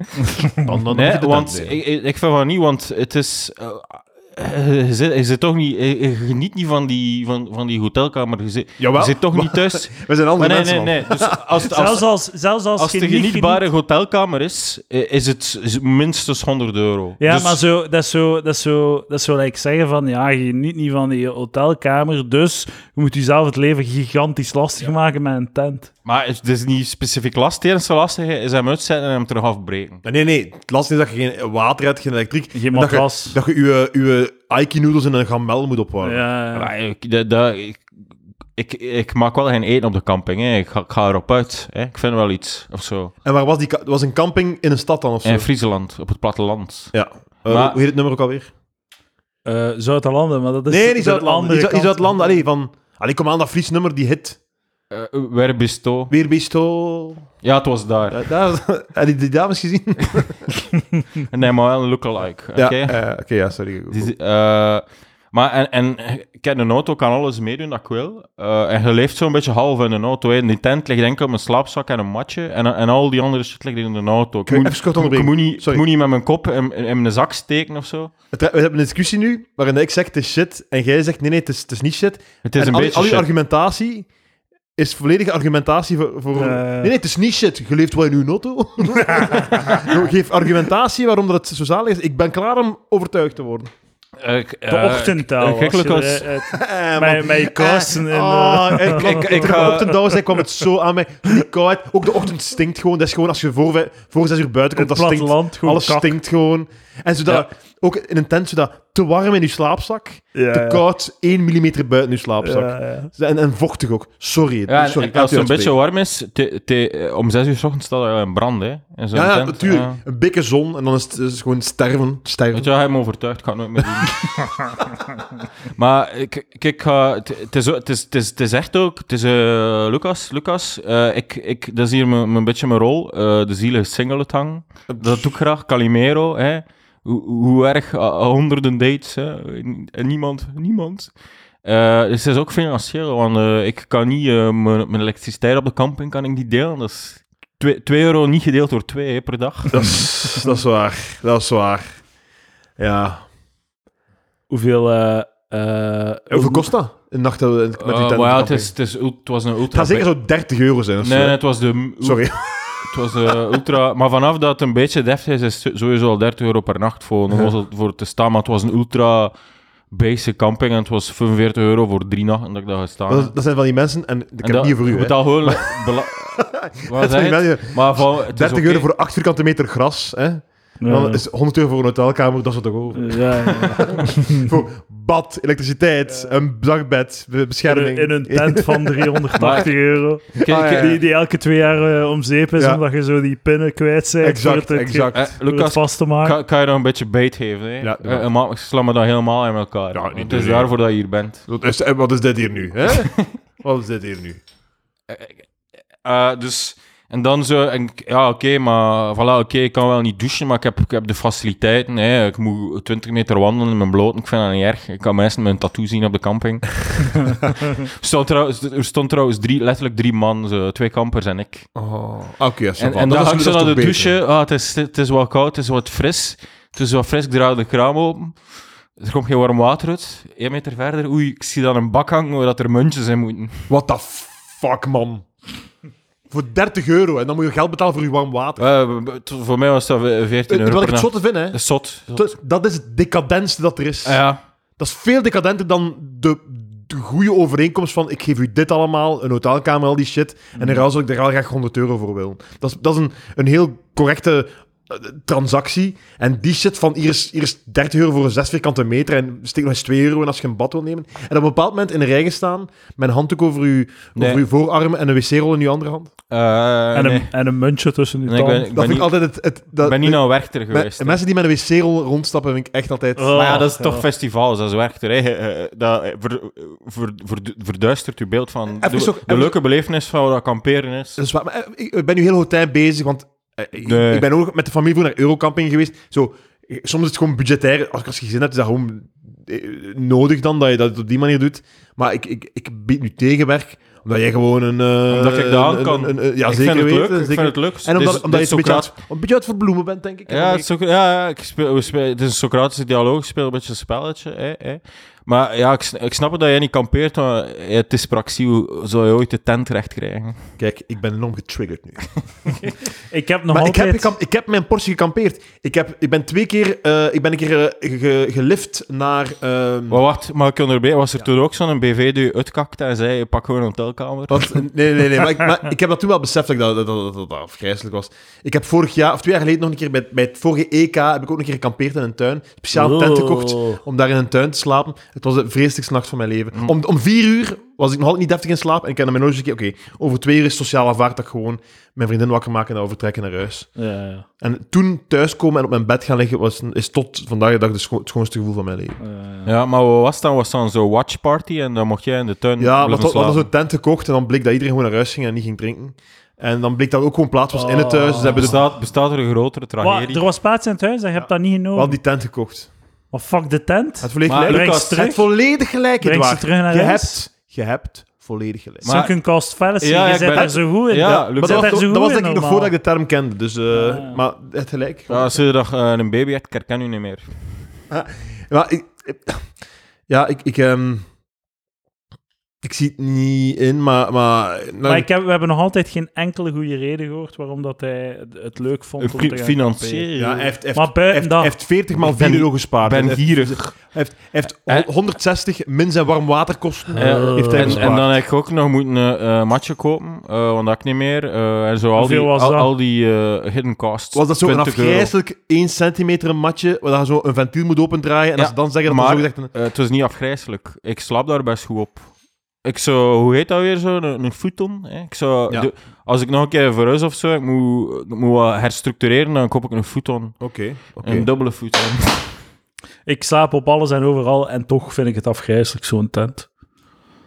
S2: Dan, dan moet je
S3: Nee,
S2: de tent
S3: want
S2: nemen.
S3: ik, ik ik vind van niet, want het is... eh, eh, je, zit, je zit toch niet... eh, Je geniet niet van die, van, van die hotelkamer. Je zit,
S2: Jawel.
S3: je zit toch niet
S2: *laughs*
S3: thuis.
S2: We zijn andere
S3: Maar nee,
S2: mensen,
S3: nee,
S2: man.
S3: nee.
S2: *laughs*
S3: Dus als, het- als,
S4: Zelfs als, zelfs als,
S3: als
S4: je
S3: het een
S4: niet geniet-
S3: genietbare hotelkamer is, eh, is het is het minstens 100 euro.
S1: Ja,
S3: Dus-
S1: maar zo, dat is zo, dat is zo, dat is zo like zeggen van, ja, je geniet niet van die hotelkamer, dus je moet jezelf het leven gigantisch lastig maken met een tent.
S3: maar het is niet specifiek last. Het enige lastige is hem uitzetten en hem terug afbreken.
S2: Nee, nee, nee. Het lastige is dat je geen water hebt, geen elektriek.
S1: Geen
S2: En dat je-
S1: matras.
S2: Dat je je uw Aiki-noedels in een gamel moet opwarmen.
S1: Ja,
S3: Maar ik, dat- dat- ik, ik, ik maak wel geen eten op de camping. Hè. Ik, ga, ik ga erop uit. Hè. Ik vind wel iets of zo.
S2: En waar was die... ka- Het was een camping in een stad dan, of zo?
S3: In Friesland, op het platteland.
S2: ja. Eh,
S3: Maar-
S2: Hoe heet het nummer ook alweer?
S1: Eh Zuid-Landen, maar dat is...
S2: Nee, niet
S1: de
S2: Zuid-Landen.
S1: andere
S2: Niet Zu- niet
S1: kant.
S2: Zuid-Landen. Allee, van... Allee, kom aan, dat Fries nummer, die hit.
S3: Eh Wer bist du?
S2: Weer Beestol.
S3: Ja, het was daar.
S2: Eh, daar- *laughs* Heb je die dames gezien?
S3: Nee, maar wel een lookalike. Oké.
S2: Ja, eh, Oké, ja, sorry.
S3: Die zi- eh, maar en, en ik heb een auto, kan alles meedoen dat ik wil. Eh, en je leeft zo'n beetje half in een auto. hè. In die tent ligt enkel mijn slaapzak en een matje. En, en al die andere shit ligt in de auto. Ik
S2: wil
S3: moet,
S2: even kort
S3: ik moet- ik moet,
S2: onderbreken.
S3: niet, ik
S2: Sorry.
S3: moet niet met mijn kop in, in, in mijn zak steken of zo.
S2: Het- We hebben een discussie nu waarin ik zeg het is shit en jij zegt nee, nee, het is, het is niet shit.
S3: Het is
S2: en
S3: een
S2: al,
S3: beetje
S2: al je
S3: shit.
S2: argumentatie is volledige argumentatie voor. voor
S1: Eh.
S2: Nee, nee, het is niet shit. Je leeft wel in uw
S1: *laughs*
S2: auto. Geef argumentatie waarom dat het zo zalig is. Ik ben klaar om overtuigd te worden.
S3: Eh, ik-
S1: De
S3: eh,
S1: ochtendtaal.
S3: eh, gekelijk
S1: als je
S3: als-
S1: eruit-
S2: Eh,
S1: Met-
S2: man.
S1: met je kousen
S2: Eh,
S1: en,
S2: ah, ik, ik,
S3: Ik- ik
S2: ik,
S3: ga-
S2: ochtend zei, kwam het zo aan mij. Die koud. Ook de ochtend stinkt gewoon. Dat is gewoon als je voor, vij- voor zes uur buiten komt,
S1: Het
S2: dat stinkt.
S1: platteland, gewoon
S2: Alles
S1: kak.
S2: stinkt gewoon. En zodat, ook in een tent, zodat te warm in je slaapzak,
S1: Ja,
S2: te
S1: ja.
S2: koud 1 mm buiten je slaapzak.
S1: Ja, ja.
S2: En, en vochtig ook. Sorry.
S3: Ja, en-
S2: sorry
S3: en als het een beetje
S2: Ja,
S3: warm is, te, te- eh, om 6 uur 's ochtends staat er wel een brand. Hè, in zo'n
S2: ja,
S3: tent.
S2: natuurlijk.
S3: Ja.
S2: Een dikke zon en dan is het, is het gewoon sterven.
S3: Weet
S2: sterven.
S3: je, hij heeft me overtuigd, ik ga het nooit meer doen. maar eh, k- kijk, ga- het het is, ook- het is, het is, het is echt ook, het is eh, Lucas, Lucas eh, ik, ik, dat is hier mijn- mijn- een beetje mijn rol, eh, de zielige singlet hangen. Dat doe ik graag, Calimero, hè. Hoe, hoe erg, eh, honderden dates, hè. en niemand, niemand. Eh, dus het is ook financieel, want eh, ik kan niet, eh, mijn, mijn elektriciteit op de camping kan ik niet delen, dat is 2 euro niet gedeeld door 2 per dag.
S2: Dat, is, dat is waar. Dat is waar. Ja.
S1: Hoeveel... eh eh,
S2: Hoeveel kost dat? Een nacht eh, met die
S3: Eh,
S2: tent.
S3: maar ja, het, is, het, is, ul- het was een
S2: Het
S3: ultra...
S2: gaat zeker zo 30 euro zijn. of
S3: Nee,
S2: zo.
S3: nee, het was de...
S2: Sorry.
S3: Het was de
S2: *laughs*
S3: ultra... Maar vanaf dat het een beetje deftig is, is het sowieso al 30 euro per nacht voor, om ons voor te staan. Maar het was een ultra basic camping en het was 45 euro voor drie nachten dat ik daar gestaan heb.
S2: Dat, dat zijn van die mensen, en ik heb
S3: En dat-
S2: het niet voor
S3: Je
S2: u.
S3: moet
S2: hè.
S3: al
S2: *laughs*
S3: gewoon... bela- Wat
S2: Dat
S3: zeg
S2: zijn
S3: je?
S2: die mensen-
S3: Maar van, het is
S2: 30
S3: oké.
S2: euro voor 8 vierkante meter gras. Hè?
S1: ja,
S2: Dan is 100 euro voor een hotelkamer, dat is wat ook over.
S1: ja, ja.
S2: Voor bad, elektriciteit, een dagbed, be-
S1: In,
S2: bescherming.
S1: een- in een tent
S2: *laughs*
S1: van 380 euro.
S3: Ik- ik-
S2: Ah, ja, ja.
S1: Die, die elke twee jaar eh, om zeep is,
S2: Ja.
S1: omdat je zo die pinnen kwijt bent. voor
S2: Exact,
S1: het- het-
S2: exact.
S3: eh,
S1: voor het
S3: Lucas,
S1: vast te maken.
S3: kan, kan je nog een beetje bait geven? Hè?
S2: Ja, doe
S3: Eh,
S2: maar.
S3: maar sla me dat helemaal in elkaar.
S2: Ja, niet
S3: Want het
S2: doen,
S3: is
S2: hè.
S3: daarvoor dat je hier bent.
S2: Wat is, eh, wat is dit hier nu? Hè?
S3: *laughs*
S2: wat is dit hier nu?
S3: Eh, dus, en dan zo, en, ik- ja, oké, maar voilà, oké, ik kan wel niet douchen, maar ik heb, ik heb de faciliteiten. Hè. Ik moet 20 meter wandelen in mijn bloot, ik vind dat niet erg. Ik kan mensen met een tattoo zien op de
S2: *laughs*
S3: camping. er, stond trouwens, er stond trouwens drie, letterlijk drie man, zo, twee kampers en ik.
S2: Oké, ja, Oh, zo
S3: En,
S2: van.
S3: en dan
S2: is-
S3: ga ik zo
S2: is
S3: naar de
S2: toch beter.
S3: douche. Ah, het, is, het is wel koud, het is wat fris. Het is wat fris, ik draai de kraam open. Er komt geen warm water uit. Eén meter verder, oei, ik zie dan een bak hangen waar dat er muntjes in moeten.
S2: What the fuck, man? voor 30 euro, en dan moet je geld betalen voor je warm water.
S3: Eh, b- t- voor mij was dat eh, 14 euro
S2: Terwijl ik
S3: per
S2: het
S3: nacht.
S2: zotte vind, hè.
S3: Dat is zot.
S2: Dat- Dat is het decadentste dat er is.
S3: Ah, ja.
S2: Dat is veel decadenter dan de, de goede overeenkomst van ik geef u dit allemaal, een hotelkamer, al die shit,
S3: Mm.
S2: en in ruil zal ik er wel graag 100 euro voor willen. Dat is, dat is een, een heel correcte eh, transactie. En die shit van hier is, hier is 30 euro voor een 6 vierkante meter en steek nog eens 2 euro in als je een bad wil nemen. En op een bepaald moment in de rij gaan staan met een handdoek over uw,
S3: Nee.
S2: over uw voorarm en een wc-rol in uw andere hand.
S3: Eh,
S1: en,
S3: nee.
S1: een, en een muntje tussen die
S3: Nee, ik ben-
S1: tanden.
S3: ik
S2: dat vind
S3: ben
S2: ik
S3: niet-
S2: altijd het... het
S3: ik
S2: dat,
S3: ben niet naar Werchter geweest.
S2: me- mensen die met een wc-rol rondstappen, vind ik echt altijd...
S1: Oh.
S3: maar ja, dat is
S1: ja.
S3: toch festivals, dat is Werchter. hè. Eh, eh, Dat eh, ver- ver- ver- verduistert je beeld van
S2: Even
S3: de,
S2: zo-
S3: de
S2: even-
S3: leuke belevenis van wat kamperen is.
S2: Dat is waar, maar eh, ik ik ben nu heel hotel bezig, want eh, ik-
S3: Nee.
S2: ik ben ook met de familie vroeger naar Eurocamping geweest. Zo, eh, soms is het gewoon budgetair. Als ik als je gezin hebt, is dat gewoon eh, nodig dan, dat je dat op die manier doet. Maar ik, ik, ik bied nu tegenwerk, omdat jij gewoon een... eh,
S3: Omdat ik dat aan
S2: een-
S3: kan.
S2: een- een- ja,
S3: ik
S2: zeker
S3: vind het
S2: weten.
S3: leuk. Ik
S2: zeker.
S3: vind het leuk.
S2: En
S3: Dit
S2: omdat,
S3: is-
S2: omdat
S3: dit
S2: je
S3: is
S2: een beetje, aan,
S3: Socrates-
S2: het- een beetje uit voor bloemen bent, denk ik.
S3: Ja, het, is ook, ja, ja, ik speel, we spelen- het is een Socratische dialoog. Ik speel een beetje een spelletje. Hè, hè. Maar ja, ik, sn- ik snap het dat jij niet kampeert, maar eh, het is praktisch. hoe Zou je ooit de tent recht krijgen?
S2: Kijk, ik ben enorm getriggerd nu.
S1: Ik heb nog
S2: Maar ik
S1: altijd...
S2: heb, gekam- ik heb mijn portie gekampeerd. Ik, heb, ik ben twee keer... eh, ik ben een keer eh, ge- gelift naar... ehm,
S3: Maar wacht, maar ik onderbij, was er toen ook zo'n BV die je uitkakte en zei: je pak gewoon een hotelkamer?
S2: Want, nee, nee, nee. Maar ik, maar ik heb dat toen wel beseft dat ik dat, dat, dat, dat, dat afgrijzelijk was. Ik heb vorig jaar, of twee jaar geleden nog een keer, bij, bij het vorige EK, heb ik ook een keer gekampeerd in een tuin. Speciaal een tent gekocht
S1: Oh.
S2: om daar in een tuin te slapen. Het was de vreselijkste nacht van mijn leven. Om, om vier uur was ik nog altijd niet deftig in slaap. En ik heb naar mijn nootjes gekeken, oké, over twee uur is sociaal aanvaard dat ik gewoon mijn vriendin wakker maak en dan vertrekken naar huis.
S1: Ja, ja.
S2: En toen thuiskomen en op mijn bed gaan liggen, was, is tot vandaag de dag de scho- het schoonste gevoel van mijn leven.
S1: Eh,
S3: Ja, maar wat was dan? Was dan zo'n watchparty en dan mocht jij in de tuin
S2: Ja, we
S3: blijven
S2: hadden- we hadden
S3: slapen?
S2: zo'n tent gekocht en dan bleek dat iedereen gewoon naar huis ging en niet ging drinken. En dan bleek dat ook gewoon plaats was in het
S1: Ah.
S2: thuis. Dus hebben we dus
S3: Bestaat, bestaat er een grotere
S1: wa-
S3: tragedie?
S1: er was plaats in het huis en je hebt dat niet
S2: wel
S1: genomen.
S2: die tent gekocht.
S1: Maar fuck de tent.
S2: Het volledig
S3: Maar
S2: gelijk.
S1: Breng
S3: Lucas,
S1: ze terug.
S2: Het volledig gelijk,
S1: Breng ze
S2: Edouard.
S1: terug naar
S2: je
S1: huis.
S2: hebt, je hebt volledig gelijk.
S3: Maar-
S1: Sunken cost fallacy.
S3: Ja,
S1: je
S3: ik
S1: zit
S3: ben-
S1: daar zo goed in.
S3: Ja,
S1: Je
S3: Lucas.
S2: Maar dat
S1: zit
S2: was,
S1: daar
S2: toch-
S1: zo
S2: dat was
S1: goed
S2: denk
S1: in
S2: ik nog
S1: normaal.
S2: voordat ik de term kende. Dus, eh,
S1: Ah, Ja.
S2: Maar het gelijk.
S3: Ja, als je dat, eh, een baby hebt, ik herken u niet meer.
S2: Maar ik, ik- ja, ik... Ik, ehm, ik zie het niet in, maar... Maar, nou,
S1: Maar ik heb, we hebben nog altijd geen enkele goede reden gehoord waarom dat hij het leuk vond om te
S3: Eh,
S1: gaan
S3: Fi-
S1: kamperen.
S3: Financieel.
S2: ja, hij heeft, heeft,
S1: Maar buiten
S2: heeft,
S1: dat-
S2: heeft 40 maal
S3: Ik ben-
S2: 4 euro gespaard.
S3: ben
S2: Hij heeft-
S3: gierig.
S2: Hij heeft, hij heeft
S3: Eh?
S2: hon- 160 min zijn warmwaterkosten.
S3: Ja,
S1: Eh,
S2: heeft hij
S3: en,
S2: gespaard.
S3: en dan heb ik ook nog moeten een matje kopen, eh, want dat ik niet meer. eh, en zo al die,
S1: Hoeveel was
S3: al,
S1: dat?
S3: al die eh, hidden costs.
S2: was dat zo'n
S3: 20 euro.
S2: afgrijzelijk 1 centimeter een matje, waar je zo een ventiel moet opendraaien en
S3: Ja,
S2: als ze dan zeggen dat
S3: maar-
S2: er zo gezegd...
S3: Eh, het was niet afgrijzelijk. Ik slaap daar best goed op. Ik zou, hoe heet dat weer zo? Een, een futon? Hè? Ik zou,
S2: Ja.
S3: de- als ik nog een keer verhuis of zo, ik moet, ik moet wat herstructureren, dan koop ik een futon.
S2: Oké, oké.
S3: Een dubbele
S2: *laughs*
S3: futon.
S1: Ik slaap op alles en overal en toch vind ik het afgrijzelijk, zo'n tent.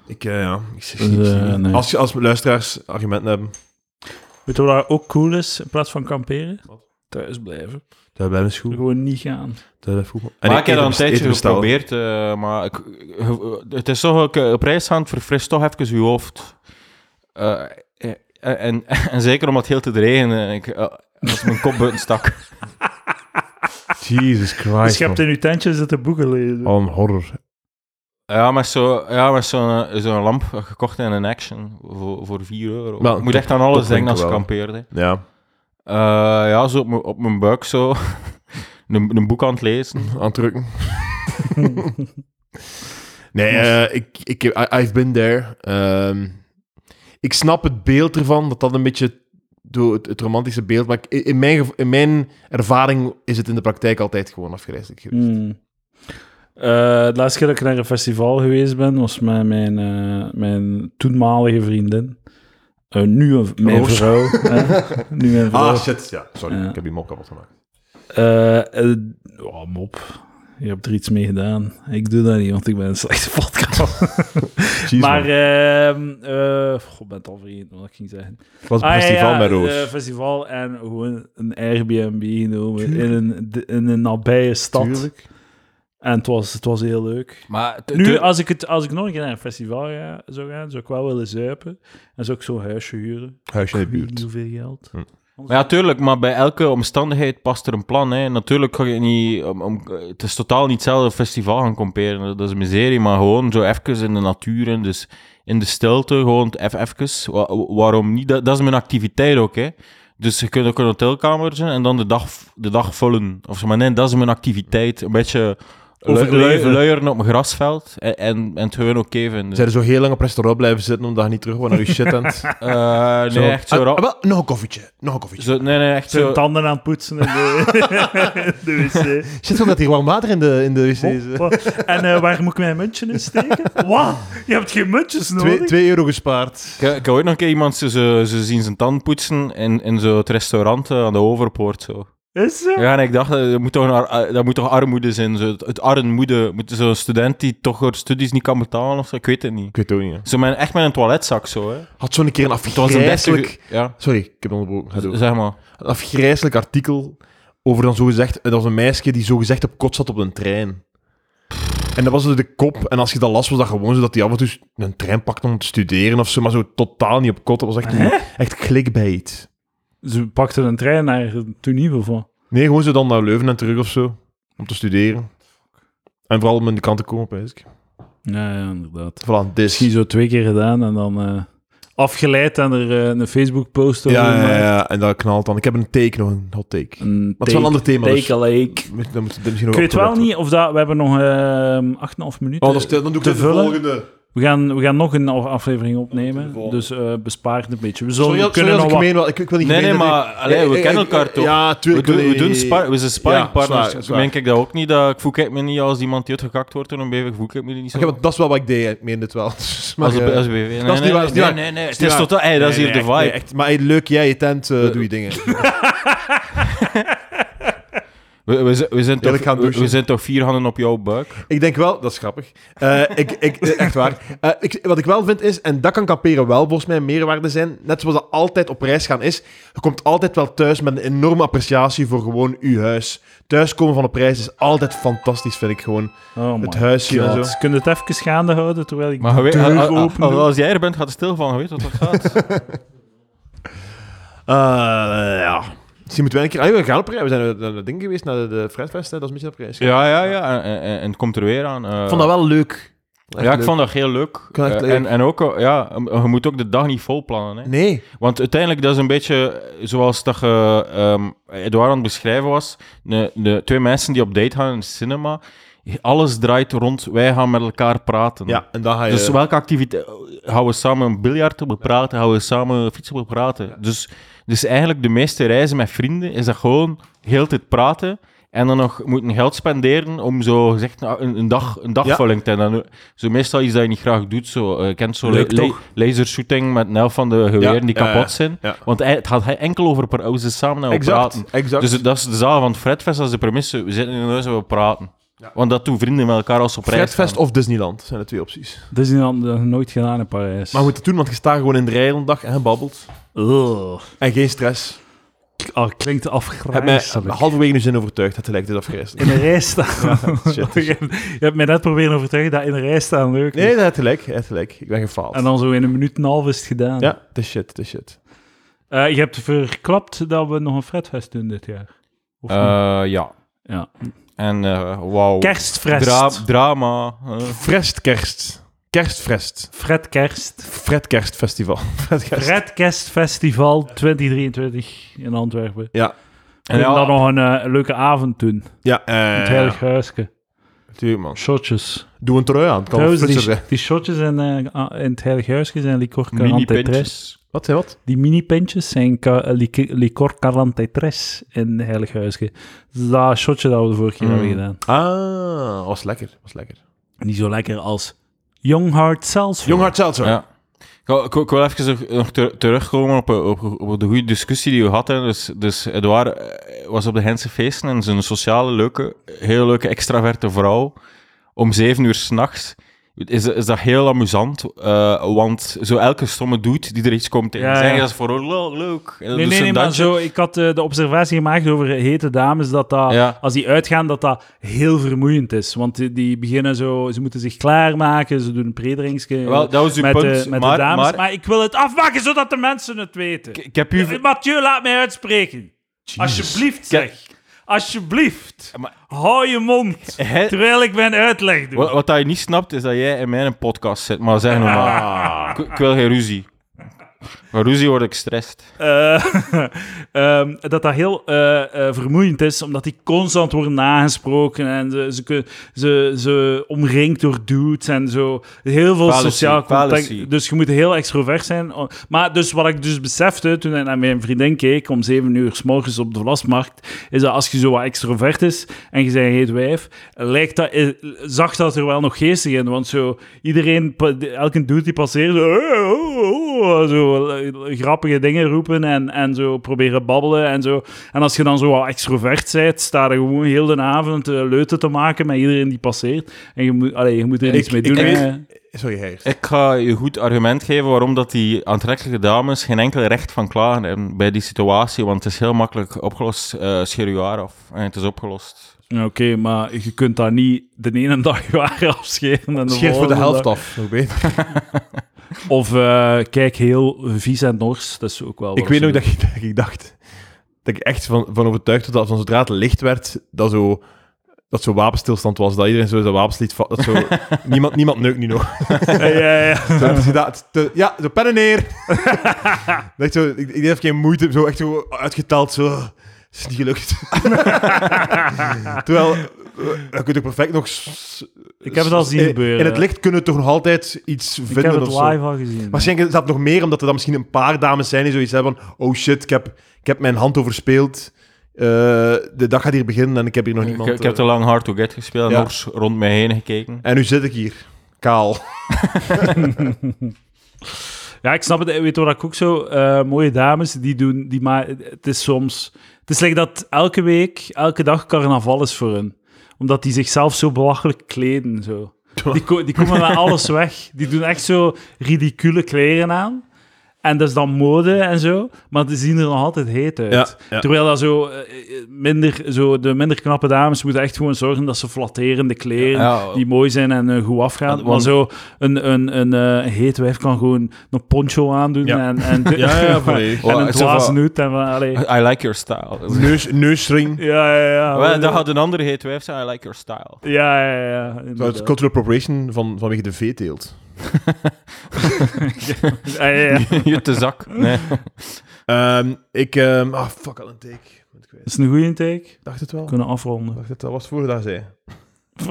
S2: Ik, eh, ja, ik zeg
S1: Dus,
S2: niet.
S1: eh, nee.
S2: Als, je- als luisteraars argumenten hebben,
S1: Weet je wat ook cool is in plaats van kamperen? Thuis blijven.
S2: dat bij mijn schoen.
S1: Gewoon niet gaan.
S2: Dat heb ik goed.
S3: maar ik heb dat een tijdje geprobeerd, eh, maar ik, het is toch ook eh, op reis gaan, het verfrist toch even je hoofd. Eh, eh, en, *laughs* en, zeker omdat het heel te regen, ik, eh, als mijn kop buiten stak.
S2: Jesus
S1: Dus
S2: Christ.
S1: je hebt
S2: man.
S1: in je tentje zitten boeken lezen.
S2: Al een horror.
S3: Ja, met zo'n ja, met zo'n zo'n lamp gekocht in een action voor, voor 4 euro.
S2: Wel,
S3: Ik moet
S2: top-
S3: echt aan alles
S2: topwinkel
S3: denken als ik
S2: wel.
S3: kampeerde.
S2: Ja.
S3: Eh, ja, zo op, mijn- op mijn buik zo. *laughs* een, een boek aan het lezen.
S2: Aandrukken. *laughs* nee, eh, ik, ik, I- I've been there. Ehm, ik snap het beeld ervan, dat dat een beetje door het, het romantische beeld, maar ik- in mijn, gev- in mijn ervaring is het in de praktijk altijd gewoon afgrijzelijk geweest.
S1: Hmm. Eh, de laatste keer dat ik naar een festival geweest ben, was met mijn, eh, mijn toenmalige vriendin. Eh, nu een, mijn
S2: Roos.
S1: vrouw.
S2: *laughs*
S1: hè. Nu mijn vrouw.
S2: Oh. Ah, shit. Ja, sorry.
S1: Ja.
S2: Ik heb die mok kapot gemaakt.
S1: Eh, eh, oh, mop. Je hebt er iets mee gedaan. Ik doe dat niet, want ik ben een slechte
S2: *laughs*
S1: podcast.
S2: Jeez,
S1: maar,
S2: man.
S1: ehm eh god, ik ben het al vergeten wat ik ging zeggen.
S2: Het was een
S1: Ah, ja,
S2: festival
S1: ja,
S2: met Roos.
S1: eh, festival en gewoon een Airbnb genomen in een, in een nabije stad.
S2: Tuurlijk.
S1: En het was, het was heel leuk.
S3: Maar t-
S1: Nu,
S3: t-
S1: als ik, het, als ik nog een keer naar een festival ga, zou gaan, zou ik wel willen zuipen. En zou ik zo'n huisje huren.
S2: Huisje in de
S1: Ik weet niet
S2: buurt.
S1: hoeveel geld.
S2: Hm.
S3: Maar ja, tuurlijk, maar bij elke omstandigheid past er een plan. Hè. Natuurlijk ga je niet. om- om- het is totaal niet hetzelfde festival gaan kamperen. Dat is miserie, maar gewoon zo even in de natuur en dus in de stilte. Gewoon even. even. Wa- waarom niet? Dat, dat is mijn activiteit ook. Hè. Dus je kunt ook een hotelkamer zijn en dan de dag, de dag vullen. Of zo, maar nee, dat is mijn activiteit. Een beetje lu- lu-
S1: Overleven.
S3: luieren op een grasveld en, en, en het gewoon Dus, oké vinden.
S2: Zijn er zo heel lang op restaurant blijven zitten omdat je niet terug was naar je
S1: *laughs*
S2: shit tent?
S3: Eh, nee, echt zo
S2: Ah, ah,
S3: rap.
S2: wel, Nog een koffietje. Nog een koffietje.
S3: Zo, nee, nee, echt
S1: Zijn
S3: zo.
S1: tanden aan het poetsen in
S2: *laughs*
S1: de, in de wc.
S2: Shit, omdat hier warm water in de, in de wc is.
S1: Hoppa. En eh, waar moet ik mijn muntje in steken? Wat? Je hebt geen muntjes nodig?
S2: Twee, twee euro gespaard.
S3: Ik, ik heb ooit nog een keer iemand ze, ze, ze zien zijn tand poetsen in, in zo'n restaurant eh, aan de overpoort. Zo.
S1: Is ze?
S3: Ja, en ik dacht, eh, dat moet toch, een ar- eh, dat moet toch armoede zijn? Zo, het, het armoede. Moet zo'n student die toch haar studies niet kan betalen of zo? Ik weet het niet.
S2: Ik weet het ook niet. hè.
S3: Zo met, echt met een toiletzak zo. Hè.
S2: Had zo'n keer een
S3: Het was een
S2: afgrijzelijk...
S3: deftige- Ja,
S2: Sorry, ik heb onderbroken. Ga door.
S3: zeg maar.
S2: Een afgrijzelijk artikel over dan zogezegd... Dat was een meisje die zogezegd op kot zat op een trein. En dat was dus de kop. En als je dat las, was dat gewoon zo dat hij af en toe een trein pakte om te studeren of zo. Maar zo totaal niet op kot. Dat was echt,
S1: Hè?
S2: echt clickbait.
S1: Ze pakten een trein naar Tunisië van.
S2: Nee, gewoon zo dan naar Leuven en terug of zo. Om te studeren. En vooral om in de kant te komen, pijs ik.
S1: Ja, ja, inderdaad.
S2: Voilà, dis.
S1: Misschien zo twee keer gedaan en dan eh, afgeleid en er eh, een Facebook-post over
S2: Ja, ja,
S1: gemaakt.
S2: ja, en dat knalt dan. Ik heb een take nog, een hot take. Maar
S1: Een
S2: het is wel een ander thema. dus
S1: take a lake.
S2: moet- dan moet dat misschien
S1: Ik
S2: nog
S1: weet wel
S2: opgewerkt
S1: niet of dat... We hebben nog eh 8,5 minuten.
S2: worden. Anders dan doe ik
S1: te
S2: het de
S1: vullen.
S2: volgende.
S1: we, gaan, we gaan nog een af- aflevering
S2: De
S1: opnemen.
S2: volgende.
S1: Dus eh bespaar het een beetje. We zullen
S2: Sorry, sorry
S1: kunnen
S2: als
S1: nog
S2: ik
S1: wat...
S2: meen wel. Ik, ik wil niet
S3: Nee, nee,
S2: gemeen dat
S3: maar
S2: ik-
S3: allee,
S2: Eh,
S3: we
S2: eh,
S3: kennen
S2: eh,
S3: elkaar toch?
S2: Ja,
S3: We
S2: tuurlijk.
S3: doen, we
S2: nee,
S3: doen
S2: nee,
S3: spar- we zijn
S2: Ja,
S3: sparringpartners.
S2: zwaar,
S3: Ik
S2: zwaar.
S3: meen ik dat ook niet. Dat, ik voel ik me niet als iemand die uitgekakt wordt door een BV. Voel ik me niet zo.
S2: Oké, want dat is wel wat ik deed, hè. ik meen dit wel. *laughs* Dus, maar,
S3: als,
S2: eh,
S3: een- als een BV. Nee,
S2: dat is niet
S3: nee,
S2: waar, dat is niet waar.
S3: nee, nee, nee, Het
S2: niet
S3: is
S2: waar.
S3: totaal... hey, dat is
S2: nee,
S3: hier
S2: nee,
S3: de
S2: echt,
S3: vibe.
S2: nee, echt. maar hey, leuk, jij, je tent, eh, doe je dingen.
S3: We, we, zi- we zijn
S2: Eerlijk
S3: toch,
S2: gaan
S3: we,
S2: douchen.
S3: we zijn toch vier handen op jouw buik?
S2: Ik denk wel, dat is grappig. Eh, ik, ik, eh, echt waar. Eh, ik, wat ik wel vind is, en dat kan kamperen wel volgens mij een meerwaarde zijn, net zoals dat altijd op reis gaan is, je komt altijd wel thuis met een enorme appreciatie voor gewoon uw huis. Thuiskomen van op reis is altijd fantastisch, vind ik gewoon.
S1: Oh my
S2: Het huisje en
S1: god.
S2: zo.
S1: Kunnen het even gaande houden terwijl ik
S3: Maar ah, je weet-
S1: de
S3: a-
S1: deur
S3: a- a-
S1: open doe?
S3: als jij er bent, gaat het stil van. Je weet wat dat gaat.
S2: Eh, ja. Misschien moeten wij een keer... Ah, we gaan op reis. We zijn naar- naar dat ding geweest, naar de, de Fredfest, hè. dat is een beetje op reis.
S3: *laughs* ja, ja, ja. En, en- en het komt er weer aan. eh.
S2: Ik vond dat wel leuk. Echt
S3: ja, ik
S2: leuk.
S3: vond dat heel leuk.
S2: vond het echt
S3: Eh,
S2: leuk.
S3: En, en ook, eh, ja, je moet ook de dag niet vol plannen. Hè.
S2: Nee.
S3: Want uiteindelijk, dat is een beetje zoals dat je, ehm, Edouard aan het beschrijven was. De, de twee mensen die op date gaan in het cinema. Alles draait rond, wij gaan met elkaar praten.
S2: Ja, en dan ga je...
S3: Dus welke activiteit... Gaan we samen een biljart bepraten? Gaan we samen fietsen bepraten? Dus, dus eigenlijk de meeste reizen met vrienden is dat gewoon heel de tijd praten en dan nog moeten geld spenderen om zo gezegd nou, een, een, dag, een dagvulling te hebben. Dan, Zo meestal iets dat je niet graag doet. Zo, eh, je kent zo'n
S1: Leuk,
S3: la-
S1: toch?
S3: lasershooting met een elf van de geweren
S2: Ja,
S3: die
S2: ja,
S3: kapot
S2: ja.
S3: zijn.
S2: Ja.
S3: Want hij- het gaat hij enkel over... pra- We zijn samen naar praten.
S2: Exact, exact.
S3: Dus dat is de zaal van het Fredfest, dat is de premisse. We zitten in een huis en we praten. Want dat doen vrienden met elkaar als ze op reis
S2: Fredfest
S3: gaan.
S2: of Disneyland zijn de twee opties.
S1: Dat is dan dat nooit gedaan in Parijs.
S2: Maar we moeten het doen, want je staat gewoon in de rij een dag en je babbelt.
S1: Ugh.
S2: En geen stress.
S1: Ah, klinkt
S2: heb mij ah,
S1: afgrijzelijk.
S2: halverwege nu zin overtuigd dat het lijkt dit afgrijzelijk.
S1: In *laughs* de rij staan.
S2: shit.
S1: je hebt mij net proberen overtuigen dat in de rij staan leuk is.
S2: Nee, dat had gelijk, hij had gelijk. Ik ben gefaald.
S1: En dan zo in een minuut en een half is het gedaan.
S2: Ja, de shit, de shit.
S1: Eh, je hebt verklapt dat we nog een fretfest doen dit jaar. Of niet?
S3: Eh, ja.
S1: Ja.
S3: En eh wauw.
S1: Kerstfrest.
S3: Dra- drama. eh.
S2: Frestkerst. Kerstfrest.
S1: Fred Kerst.
S2: Fred Kerstfestival. *laughs* Fred Kerst.
S1: Fred Kerstfestival 2023 in Antwerpen.
S2: Ja.
S1: En
S3: ja.
S1: dan nog een eh, leuke avond doen.
S2: Ja,
S1: Het
S2: eh,
S1: Heilig Huisje.
S2: tuurlijk, man.
S1: Shotjes.
S2: Doe een trui aan. Het kan wel
S1: Trouwens,
S2: flitser
S1: die,
S2: zijn.
S1: die shotjes in, eh, a- in het Heilig Huisje zijn licor 43.
S3: Mini-pintjes.
S2: Wat, hè, wat?
S1: Die mini-pintjes zijn ka- eh, lic- licor 43 in Heilig Huisje. Dat is dat shotje dat we de vorige keer
S3: Mm.
S1: hebben gedaan.
S2: Ah, was lekker. Was lekker.
S1: Niet zo lekker als Young Heart Seltzer.
S2: Jonghart Seltzer.
S3: Ja. Ik wil- Ik, wil- ik wil even nog- nog ter- terugkomen op, op, op de goede discussie die we hadden. Dus, dus Edouard eh, was op de Gentse feesten en zijn sociale, leuke, heel leuke, extraverte vrouw om zeven uur s'nachts. Is, is dat heel amusant, eh, want zo elke stomme doet die er iets komt tegen
S1: Ja,
S3: zeggen,
S1: ja.
S3: dat is voor haar leuk, leuk. En dat
S1: Nee,
S3: doet
S1: nee,
S3: ze
S1: nee,
S3: een
S1: maar
S3: dansje.
S1: zo, ik had eh, de observatie gemaakt over hete dames, dat dat,
S3: Ja.
S1: als die uitgaan, dat dat heel vermoeiend is. Want die, die beginnen zo, ze moeten zich klaarmaken, ze doen een predrinksje
S3: Wel, dat was uw
S1: met,
S3: punt,
S1: de, met
S3: maar-
S1: de dames.
S3: maar-
S1: Maar... ik wil het afmaken, zodat de mensen het weten. Eh,
S3: Ik, ik heb u...
S1: Mathieu, laat mij uitspreken. Alsjeblieft, zeg. Alsjeblieft.
S3: Maar-
S1: Hou je mond,
S3: Hè?
S1: terwijl ik mijn uitleg doe.
S3: Wat, wat dat je niet snapt, is dat jij in mijn podcast zit, maar zeg normaal. Ik, ik wil geen ruzie. Van ruzie word ik gestrest.
S1: Eh, *laughs* ehm, dat dat heel eh, eh, vermoeiend is, omdat die constant worden nagesproken en ze, ze, kun- ze, ze omringd door dudes en zo. Heel veel
S3: Fallacy,
S1: sociaal contact.
S3: fallacy.
S1: Dus je moet heel extrovert zijn. O- Maar dus wat ik dus besefte toen ik naar mijn vriendin keek om 7 uur s morgens op de vlasmarkt, is dat als je zo wat extrovert is en je bent heet wijf, lijkt dat, eh, zag dat er wel nog geestig in. Want zo iedereen, pa- de- elke dude die passeert, zo, "Hey, oh, oh," zo eh, grappige dingen roepen en, en zo proberen babbelen en zo. En als je dan zo wat extrovert bent, sta je gewoon heel de avond eh, leuten te maken met iedereen die passeert. En je moet, allee, je moet er niks mee doen.
S2: ik
S1: hè.
S2: weet- Sorry, Heer.
S3: Ik ga je goed argument geven waarom dat die aantrekkelijke dames geen enkel recht van klagen hebben bij die situatie. Want het is heel makkelijk opgelost. eh scheer je haar af. En het is opgelost.
S1: Oké, maar je kunt dat niet de ene *laughs* dag je haar afscheren en de
S2: Scheert voor
S1: volgende
S2: de helft
S1: dag-
S2: af. Nog beter.
S1: Of eh, kijk heel vies en nors, dat is ook wel
S2: Ik
S1: wat
S2: weet
S1: ze
S2: nog
S1: doen.
S2: dat ik, dat ik dacht... Dat ik echt van, van overtuigd was dat van zodra het licht werd, dat zo... Dat zo wapenstilstand was, dat iedereen zo zijn wapens liet va- Dat
S1: *laughs*
S2: zo, niemand, niemand neukt nu nog.
S1: Ja, ja, ja.
S2: Zo, dat je dat- te- ja, zo pennen
S1: *laughs*
S2: neer. Echt zo, ik, ik deed even geen moeite, zo echt zo uitgeteld, zo... Is niet
S1: *laughs*
S2: gelukt. Terwijl, eh, je kunt ook perfect nog... s-
S1: Ik heb het al zien
S2: *laughs* in-
S1: gebeuren.
S2: In het licht kunnen toch nog altijd iets
S1: Ik heb
S2: vinden
S1: het
S2: of zo.
S1: live al gezien.
S2: Waarschijnlijk is dat nog meer omdat er dan misschien een paar dames zijn die zoiets hebben van... Oh shit, ik heb, ik heb mijn hand overspeeld. Eh, de dag gaat hier beginnen en ik heb hier nog
S3: Ik,
S2: niemand.
S3: ik heb te
S2: eh,
S3: lang hard to get gespeeld en
S2: Ja.
S3: nors rond mij heen gekeken.
S2: En nu zit ik hier. Kaal.
S1: Ja, ik snap het. Weet je wat ik ook zo... eh, mooie dames, die doen... Die ma het is soms... Het is like dat elke week, elke dag carnaval is voor hen. Omdat die zichzelf zo belachelijk kleden, zo. Die, ko- die komen met alles weg. Die doen echt zo ridicule kleren aan. En dat is dan mode en zo. Maar die zien er nog altijd heet uit.
S2: ja.
S1: Terwijl dat zo, eh, eh, minder, zo, de minder knappe dames moeten echt gewoon zorgen dat ze flatterende kleren
S3: Ja,
S1: die mooi zijn en eh, goed afgaan.
S3: Want-
S1: maar zo een, een, een eh, heet wijf kan gewoon een poncho aandoen
S2: Ja.
S1: en,
S2: *laughs*
S1: en,
S2: Ja,
S1: *laughs*
S2: ja, volledig.
S1: en
S3: Oh,
S1: een
S3: zo
S1: dwaas
S3: van-
S1: nut. En, van,
S3: *laughs*
S1: allee.
S3: I, I like your style.
S2: Neus, neusring.
S1: ja, ja, ja.
S3: Wel, dat had een andere heet wijf zijn. I like your style. *laughs*
S1: Ja, ja, ja.
S2: Het is
S1: inderdaad.
S2: cultural appropriation van, vanwege de veeteelt.
S1: Ja, ja, ja.
S3: je te zak. Nee.
S2: Ehm, ik... ehm, ah, fuck, al een take. Ik ben het kwijt.
S1: Is het een goede intake?
S2: Ik dacht het wel.
S1: We
S2: Ik
S1: kunnen afronden. *laughs*
S2: dacht het al. Was het vorige dag zei.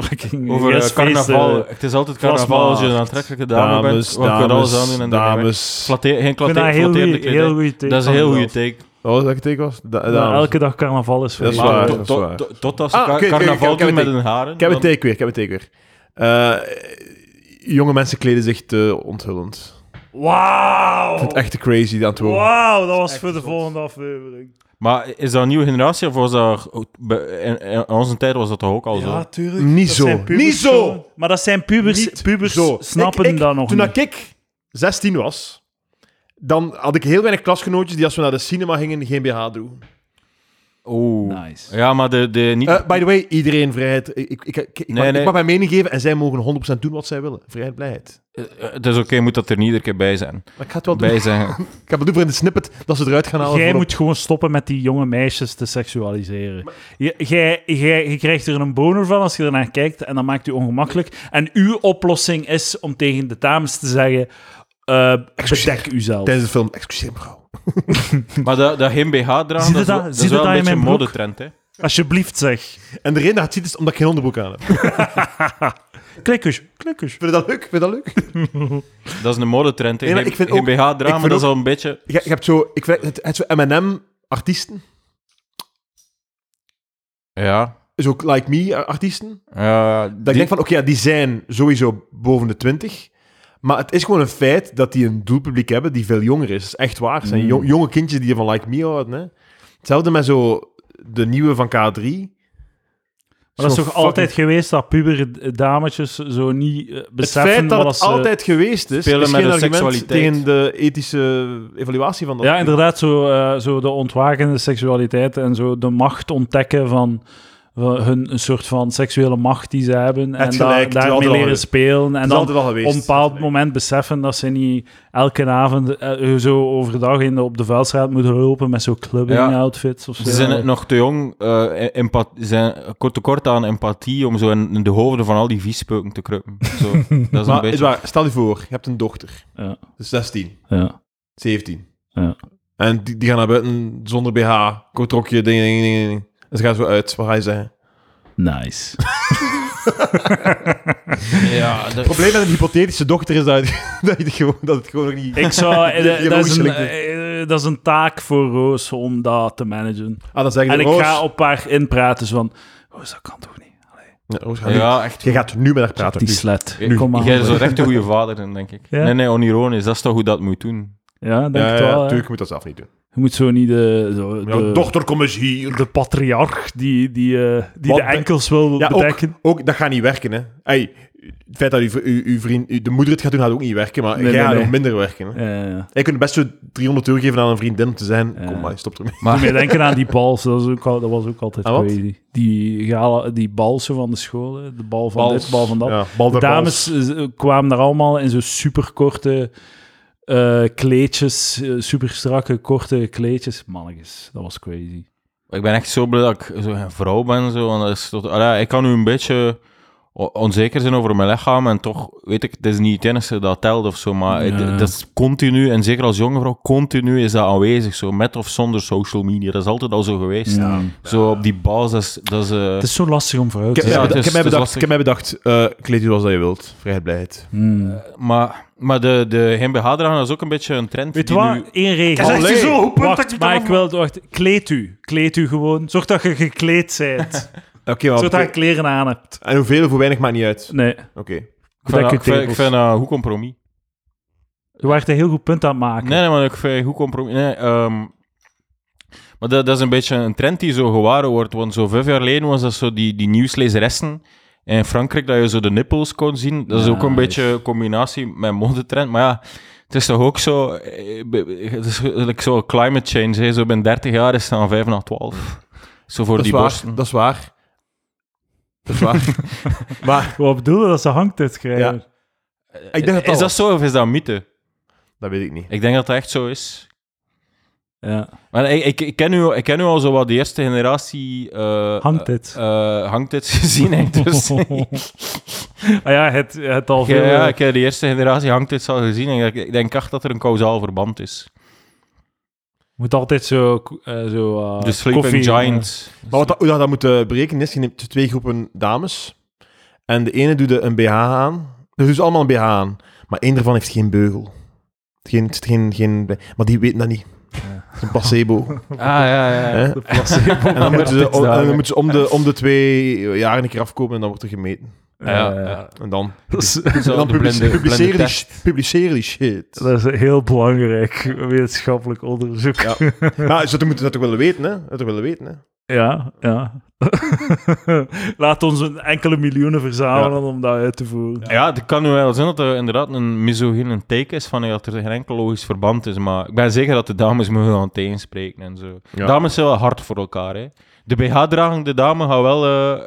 S1: Fucking
S3: Over eh,
S1: yes,
S3: carnaval.
S1: feesten.
S3: het is altijd carnaval als je een
S1: Vlasmarkt.
S3: aantrekkelijke dame bent. Want je kunt alles aan doen en daarmee weg.
S2: dames.
S3: Flatte- geen
S1: Ik vind
S3: flatte-
S1: dat een heel
S3: flatterende
S1: goeie-
S3: kledij.
S1: heel goede take.
S3: Dat is een
S1: van
S3: heel goede
S1: mezelf.
S3: take.
S2: Wat was dat ik take was? Da-
S1: Dat
S2: dames.
S1: Nou, elke dag carnaval is voor
S2: Dat is
S1: jou.
S2: waar.
S3: Maar
S2: dat
S3: tot-
S2: is waar.
S3: tot- tot- Totdat ze
S2: Ah,
S3: car-
S2: oké, oké, oké,
S3: carnaval
S2: ik heb
S3: doen
S2: het
S3: met hun haren.
S2: Ik heb een
S3: dan-
S2: take weer, ik heb een take weer. Eh, jonge mensen kleden zich te onthullend. Ik
S1: Wauw!
S2: vind het echt te crazy aan het worden.
S1: Wauw, dat was voor de volgende aflevering.
S3: Maar is dat een nieuwe generatie of was dat... bij- In, in onze tijd was dat toch ook al zo?
S1: tuurlijk.
S2: Niet
S1: Dat
S2: zo.
S1: zijn pubers
S2: Niet zo.
S1: gewoon. Maar dat zijn pubers.
S2: Niet
S1: pubers
S2: zo.
S1: snappen
S2: Ik- ik-
S1: dat nog
S2: Toen
S1: niet.
S2: dat ik 16 was, dan had ik heel weinig klasgenootjes die als we naar de cinema gingen geen BH droegen.
S3: Oeh.
S1: Nice.
S3: Ja, maar de, de niet...
S2: Eh, by the way, iedereen vrijheid. Ik, ik, ik, ik,
S3: Nee,
S2: mag,
S3: nee.
S2: ik mag mijn mening geven en zij mogen 100% doen wat zij willen. Vrijheid, blijheid.
S3: eh, eh, het is oké, moet dat er niet iedere keer bij zijn.
S2: Maar ik ga het wel doen.
S3: Bij zijn.
S2: Ik heb het doen voor in de snippet dat ze eruit gaan halen.
S1: Jij
S2: voor op-
S1: moet gewoon stoppen met die jonge meisjes te seksualiseren. Je- Jij jij- je krijgt er een boner van als je ernaar kijkt en dat maakt u ongemakkelijk. En uw oplossing is om tegen de dames te zeggen: eh bedek uzelf.
S2: Tijdens de film, excuseer mevrouw.
S3: maar dat, dat geen BH dragen,
S1: Zie je
S3: dat, is
S1: dat-
S3: wel- dat
S1: zie
S3: is
S1: je
S3: wel
S1: dat in
S3: een beetje een
S1: mijn broek?
S3: modetrend, hè.
S1: Alsjeblieft zeg.
S2: En de reden dat je het ziet is omdat ik geen onderbroek aan heb. Vind
S1: Klikkers, klikkers.
S2: je dat leuk? Vind je dat leuk?
S3: Dat is een modetrend, hè.
S2: Nee, maar
S3: Geen-
S2: ik vind
S3: geen
S2: ook-
S3: BH
S2: ik
S3: dragen,
S2: vind
S3: maar dat is
S2: ook-
S3: al een beetje...
S2: *laughs* Je, je hebt zo, ik weet het, het zo M&M M&M-artiesten.
S3: Ja,
S2: Zo Like Me-artiesten.
S3: ja
S2: Dat ik denk van, oké, ja, die zijn sowieso boven de 20. Maar het is gewoon een feit dat die een doelpubliek hebben die veel jonger is. Dat is echt waar. Het zijn jong- jonge kindjes die van Like Me houden. Hè. Hetzelfde met zo de nieuwe van K3.
S1: Maar dat is
S2: Zo'n
S1: toch
S2: fucking-
S1: altijd geweest dat pubere dametjes zo niet eh,
S2: Het
S1: beseffen
S2: feit dat
S1: wat
S2: het
S1: ze-
S2: altijd geweest is,
S3: spelen
S2: is
S3: met
S2: geen
S3: de
S2: argument
S3: seksualiteit.
S2: tegen de ethische evaluatie van dat.
S1: Ja, inderdaad, zo, eh, zo de ontwakende seksualiteit en zo de macht ontdekken van, van hun een soort van seksuele macht die ze hebben. en da-
S2: gelijk, het is altijd
S1: daarmee
S2: al
S1: leren
S2: geweest.
S1: spelen. En
S2: is
S1: dan
S2: altijd al geweest.
S1: op een bepaald moment beseffen dat ze niet elke avond eh, zo overdag in de, op de vuilstraat moeten lopen met zo'n clubbing-outfits of zo.
S3: Ze zijn het nog te jong, eh empath- ze zijn kort tekort aan empathie om zo in in de hoofden van al die viespeuken te kruipen. Zo, dat is een
S2: Maar is
S3: beetje...
S2: waar, stel je voor, je hebt een dochter.
S1: Ja.
S2: Dus 16,
S1: Ja.
S2: 17.
S1: Ja.
S2: En die, die gaan naar buiten zonder BH, kort rokje, ding, ding, ding, ding. En ze gaan zo uit, wat ga je zeggen?
S1: Nice.
S3: Ja, dat-
S2: Het probleem met een hypothetische dochter is dat, *laughs* dat, je het gewoon, dat het gewoon nog niet...
S1: Ik
S3: *laughs*
S1: zou... eh,
S2: Je- je
S1: dat, is een,
S2: moeilijk doet.
S1: eh, dat is een taak voor Roos om dat te managen.
S2: Ah, dan zeggen
S1: En
S2: ze,
S1: ik
S2: Roos,
S1: ga op haar inpraten dus van... Roos, dat kan toch niet?
S2: Ja, oh, Roos, ga nu-
S3: ja, echt.
S2: Je gaat nu met haar praten.
S1: Die
S2: nu.
S1: slet.
S3: Nu,
S1: Kom maar.
S3: Jij zou echt een goede vader zijn, denk ik.
S1: Ja?
S3: Nee, nee, onironisch. Dat is toch hoe dat moet doen.
S1: Ja, denk
S2: Ja,
S1: het
S2: ja,
S1: wel. hè.
S2: tuurlijk, je moet dat zelf niet doen.
S1: Je moet zo niet de, zo
S2: Jouw
S1: de,
S2: dochter, kom eens hier.
S1: de patriarch die, die, eh, die
S2: Wat
S1: de
S2: de-
S1: enkels wil
S2: Ja,
S1: bedekken.
S2: Ook, dat gaat niet werken, hè. Hey, het feit dat uw, uw, uw vriend, uw- de moeder het gaat doen, gaat ook niet werken, maar
S1: Nee,
S2: jij
S1: nee,
S2: gaat
S1: nee.
S2: nog minder werken. Hè.
S1: Ja, ja.
S2: Jij kunt best zo 300 euro geven aan een vriendin om te zijn.
S1: Ja.
S2: Kom maar, stop ermee.
S1: Doe mij denken aan die bals, dat was ook, al- dat was ook altijd
S2: Aan wat?
S1: crazy. Die, gala- die balsen van de scholen, de bal van dit, bal van dat.
S2: Ja, bal
S1: de
S2: der
S1: dames eh, kwamen daar allemaal in zo'n superkorte eh, kleedjes, eh, superstrakke, korte kleedjes. Mannetjes, dat was crazy.
S3: Ik ben echt zo blij dat ik zo een vrouw ben. Zo, want dat is tot, ah ja, ik kan nu een beetje o- onzeker zijn over mijn lichaam. En toch, weet ik, het is niet het enige dat telt of zo. Maar het-
S1: Ja.
S3: dat is continu, en zeker als jonge vrouw, continu is dat aanwezig. Zo, met of zonder social media. Dat is altijd al zo geweest.
S1: Ja.
S3: Zo op die baas, dat is... Dat is eh,
S1: Het is zo lastig om vooruit
S2: Ik
S1: te
S2: heb,
S1: zijn.
S3: Ja,
S2: ik
S3: het
S2: heb
S3: is-
S2: mij
S3: het
S2: bedacht,
S3: is lastig.
S2: ik heb mij bedacht eh, kleed u zoals dat je wilt. Vrijheid, blijheid.
S1: Hmm.
S3: maar, maar de, de geen BH dragen, dat is ook een beetje een trend
S1: Weet je
S3: die
S1: wat?
S3: nu...
S1: Eén regel.
S2: Hij zegt
S1: Allee.
S2: zo, hoe punt
S1: wacht,
S2: dat je het
S1: maar
S2: dan-
S1: ik wil... Wacht, kleed u. Kleed u gewoon. Zorg dat je gekleed
S3: *laughs*
S1: bent.
S2: Oké, maar
S1: Zorg dat je kleren aan hebt.
S2: En hoeveel of hoe weinig maakt niet uit.
S1: Nee.
S2: Oké.
S3: Ik vind, dat-
S1: Dekke
S3: ik vind, ik
S1: tegels.
S3: vind dat een goed compromis.
S1: Je waart een heel goed punt aan het maken.
S3: Nee, nee, maar ik vind goed compromis. Nee, ehm, maar dat, dat is een beetje een trend die zo gewaren wordt. Want zo vijf jaar geleden was dat zo die, die nieuwslezeressen in Frankrijk, dat je zo de nippels kon zien. Dat is ook een
S1: Nice.
S3: beetje een combinatie met modetrend. Maar ja, het is toch ook zo... eh, be- Het is like zo climate change. Hè. Zo binnen 30 jaar is het dan 5 naar 12. Zo voor
S2: Dat is
S3: die
S2: waar.
S3: borsten.
S2: Dat is waar. Dat is waar. *laughs* maar
S1: Wat bedoelde dat ze hangtijd krijgen?
S2: Ja. ik denk dat
S3: Is dat
S2: was.
S3: zo of is dat een mythe?
S2: Dat weet ik niet.
S3: Ik denk dat dat echt zo is.
S1: Ja.
S3: Maar ik, ik, ik, ken u, ik ken u al zo wat de eerste generatie... eh,
S1: Hangtijd.
S3: eh hangt dit *laughs* gezien, hè,
S1: *laughs*
S3: dus...
S1: ah ja, het, het al
S3: Ja,
S1: veel...
S3: ja,
S1: Ja,
S3: ik heb de eerste generatie hangt dit al gezien en ik- ik denk echt dat er een kausaal verband is.
S1: moet altijd zo... eh, zo eh,
S3: de Dus Sleeping
S1: koffie,
S3: Giants.
S2: Maar wat dat, hoe dat, dat moet eh, berekenen is, je neemt twee groepen dames. En de ene doet een BH aan. Dus doen ze allemaal een BH aan. Maar één daarvan heeft geen beugel. Geen, geen, geen, maar die weten dat niet. Het is een placebo. *laughs*
S3: Ah, ja, ja.
S2: hè?
S1: eh,
S3: *laughs*
S1: placebo.
S2: En
S1: *laughs*
S2: dan moeten ze,
S3: Pitsdagen.
S2: en dan moeten ze om, de, om de twee jaar een keer afkomen en dan wordt er gemeten.
S3: ja,
S1: Eh,
S3: ja.
S2: En dan,
S1: Dat is,
S3: Zo,
S2: dan
S3: de
S2: publice-
S3: blinde-
S2: publiceren,
S3: blinde
S2: die, sh- publiceren die shit.
S1: dat is heel belangrijk wetenschappelijk onderzoek.
S2: Ja. Maar ze moeten dat toch willen weten, hè? Dat toch willen weten, hè?
S1: Ja, ja. *laughs* Laat ons een enkele miljoenen verzamelen om dat uit te voeren.
S3: Ja, het kan nu wel zijn dat er inderdaad een misogyne take is van dat er geen enkel logisch verband is, maar ik ben zeker dat de dames me gaan tegenspreken en zo.
S2: Ja.
S3: Dames zijn wel hard voor elkaar, hè. De BH-dragende dame gaat wel eh,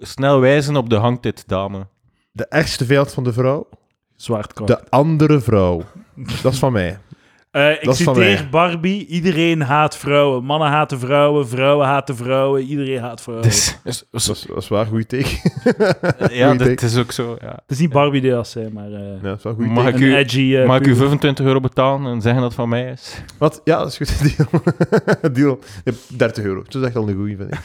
S3: snel wijzen op de hangtit dame.
S2: De ergste vijand van de vrouw
S1: Zwaardkracht.
S2: De andere vrouw. Dat is van mij.
S1: Eh, ik
S2: Dat is van
S1: citeer
S2: mij.
S1: Barbie. Iedereen haat vrouwen. Mannen haten vrouwen, vrouwen haten vrouwen. Iedereen haat vrouwen.
S3: Dus- dus- dus-
S2: Dat is, dat is waar, goede teken.
S3: ja,
S2: Goeie
S3: dat
S2: take.
S3: is ook zo. Ja.
S1: Het is niet Barbie die dat zei, maar eh,
S2: Ja, dat is wel goede
S3: Mag
S2: teken.
S3: ik-
S1: een
S3: u-
S1: edgy... eh,
S3: Mag ik u
S1: puber.
S3: 25 euro betalen en zeggen dat het van mij is?
S2: Wat? Ja, dat is goed. *laughs* Deal. Deal. Je hebt 30 euro. Dat is echt al een goede, vind ik.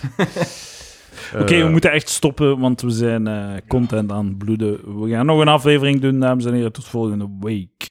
S1: Oké,
S2: Eh.
S1: we moeten echt stoppen, want we zijn eh, content aan het bloeden. We gaan nog een aflevering doen, dames en heren. Tot volgende week.